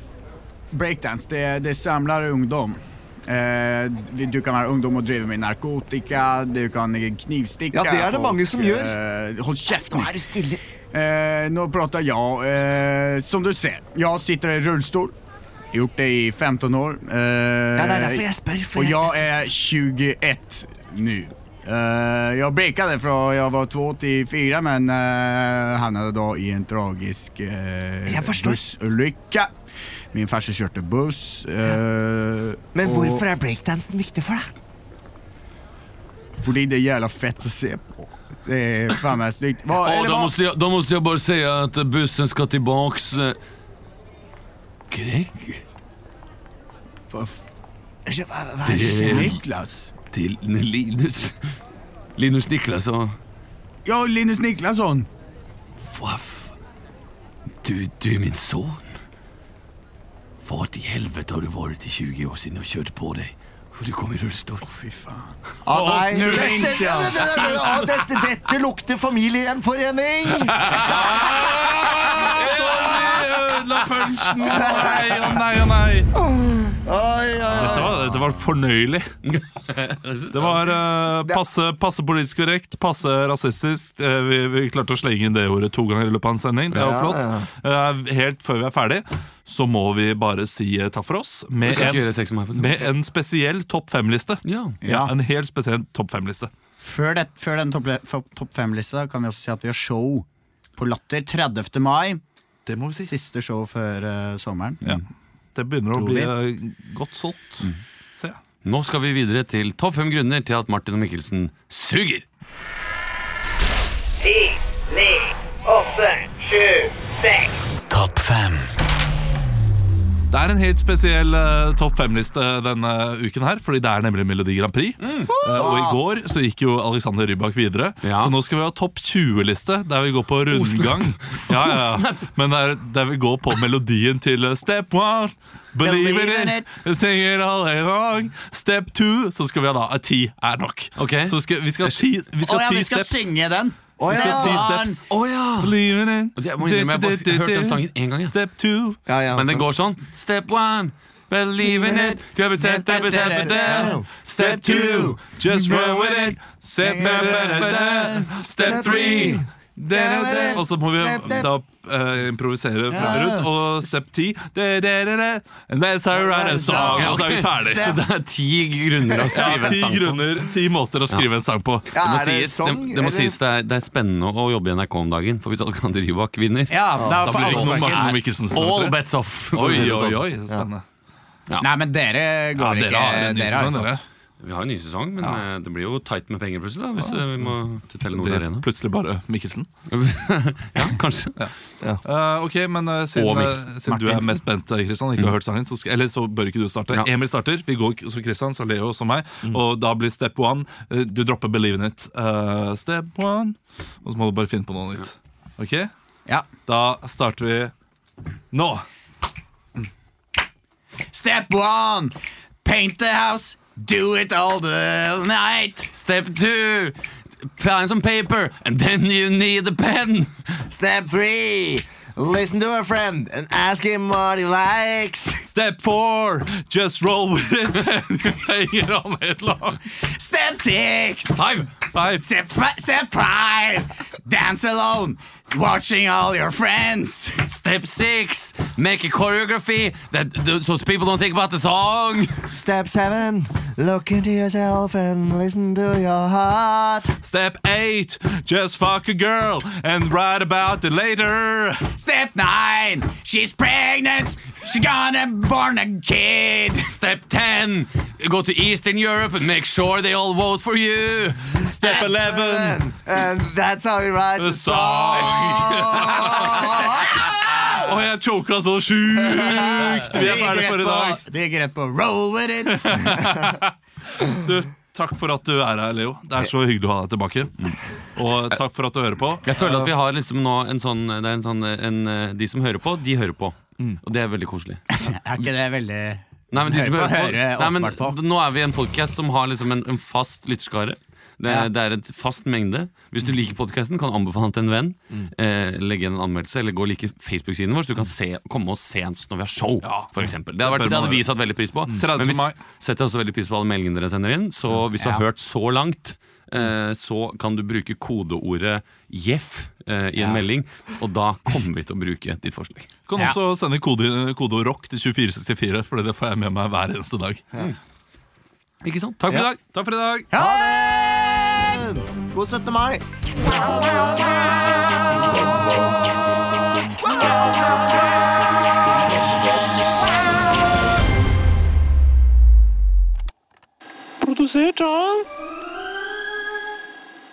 breakdance, det, det samlar ungdom. Eh, du kan være ungdom og drive med narkotika, du kan knivstikke Ja, det er det mange som gjør. Eh, hold kjeft Nå nå. er det stille. Eh, nå prater jeg. Eh, som du ser, jeg sitter i rullestol. Gjort det i 15 år. Eh, Ja, det er derfor jeg spør. For og jeg- jeg jeg er 21 nå. Eh, jeg breakade fra jeg var 2 til 4, men uh, havnet da i en tragisk uh, Jeg forstår. bussulykke. Min farse kjørte buss. eh, synes- Men og- hvorfor er breakdansen viktig for deg? Fordi det er jævla fett å se på. Det er faen meg stygt. Hva- Å, eller da, hva? eh. måste jeg, da måste jeg bare si at bussen skal tilbake. skrekk Hva, ikke, hva, hva er det som skjer, Niklas? til Linus. Linus Niklas og Ja, Linus Niklasson. Hva f... Du, du er min sønn. Hva til helvete har du vært i 20 år siden og kjørt på deg? Og du kom i rullestol. Fy faen. Ah, nei. Nå Dette, venter jeg. dette, dette, ah, dette, dette lukter familiegjenforening! La Ah, punchen! Å nei, å nei, å nei. Dette var, dette var fornøyelig. Det var eh, passe, passe politisk korrekt, passe rasistisk. Eh, vi, vi klarte å slenge inn det ordet to ganger i løpet av en sending. Det var Ja, flott. Eh, helt før vi er ferdig, så må vi bare si eh, takk for oss Du med skal ikke en, gjøre sex med meg. for eksempel. med en spesiell topp fem-liste. Ja. Ja, en helt spesiell topp fem-liste. Før, det, før den topp topp fem-lista kan vi også si at vi har show på Latter 30. mai. Det må vi si. Siste show før eh, sommeren. Ja. Det begynner å Tror bli vi. eh, godt solgt. Mm. Se, ja. Nå skal vi videre til topp fem grunner til at Martin og Mikkelsen suger. Topp fem. Det er en helt spesiell eh, topp fem-liste denne uken her, fordi det er nemlig Melodi Grand Prix. Eh, og i går så gikk jo Alexander Rybak videre, Mm. Ja. så nå skal vi ha topp 20-liste, der vi går på rundgang. Ja, ja, ja. Men der, der vi går på melodien til eh, Step One, Believe in it, Sing it all day long. Step Two, så skal vi ha da eh, Ti er nok. Ok. Så skal, vi skal ha ti, vi Å skal ha ja, ti vi skal steps. synge den! Vi skal ha ti Barn. steps. Å ja! Believe in it. Jeg må innrømme, jeg har bare hørt den sangen én gang. Ja. Step Two. Ja, ja, Men det altså. går sånn. Step one, believe in it. Step two, just run with it. Step, step three. Og så må vi da eh, improvisere frem og rundt. Og step ti And that's how I write a song. Og så er vi ferdig. Så det er ti grunner å Ja, skrive en ti sang på. grunner, ti måter å skrive en sang på. Det må er det sies, sang, det, det, må eller? sies det, er, det er spennende å jobbe i NRK om dagen, for hvis Alexander Rybak vinner Ja, det er Ah, Da for blir det alle ikke noe snakker. Martin Mikkelsen. All bets off! for å Oi, si det oi, sånn. oi. Spennende. Nei, men dere Ja, går dere har en ikke ny dere sesong, har dere. Vi har en ny sesong, men eh, det blir jo tight med penger plutselig, da, hvis eh, vi må til Telenor Blir Arena. Plutselig bare Mikkelsen. ja, kanskje. Eh, ok, men eh, Og siden, eh, Mikkelsen. siden du er mest spent, eh, Kristian, ikke har hørt sangen, så, skal, eller, så bør ikke du starte. Ja. Mm. Emil starter, vi går k- så Kristian, så Leo, så meg. Og da blir step one. eh, du dropper Believe in it. Eh, step one. Og så må du bare finne på noe nytt. Ok? Ja. Da starter vi nå. Step one, paint the house, do it all the night. Step two! Find some paper, and then you need a pen! Step three, listen to a friend and ask him what he likes. Step four, just roll with it. Take it all night long. Step six, Five. Five. step, fi- step five, dance alone, watching all your friends. Step six! Make a choreography that, so people don't think about the song! Step seven, look into yourself and listen to your heart. Step eight, just fuck a girl and write about it later. Step nine, she's pregnant, she's gonna born a kid. Step ten! Go to Eastern Europe and make sure they all vote for you! Step eleven. And, and that's how we write the sang. Og jeg choka så sjukt! Vi er ferdig for i dag. Du gikk rett på roll with it. Du, takk for at du er her, Leo. Det er så hyggelig å ha deg tilbake. Mm. Og takk for at du hører på. Jeg føler at vi har liksom nå en sånn, det er en sånn en, eh, De som hører på, de hører på. Mm. Og det er veldig koselig. Er ikke det veldig Nei, men de som Hører på, hører på, hører nei, men, åpenbart på. Nå er vi en podcast som har liksom en, en fast lyttskare det, er- Ja. det er et fast mengde Hvis du liker podcasten, kan du anbefale den til en venn eh, Legge igjen en anmeldelse Eller gå og like Facebook-siden vår Så du kan se, komme og se oss når vi har show Ja. For eksempel Det, Det bør hadde vært, det man hadde vi gjøre. satt veldig pris på Men 30. vi mai. s- setter også veldig pris på alle meldingene dere sender inn Så hvis du har hørt så langt eh, så kan du bruke kodeordet Jeff eh, i en melding Og da kommer vi til å bruke ditt forslag Du kan også sende kode, kode og rock til 2464, Fordi det får jeg med meg hver eneste dag. Ikke sant? Takk for i dag Takk for i dag. God 17. mai.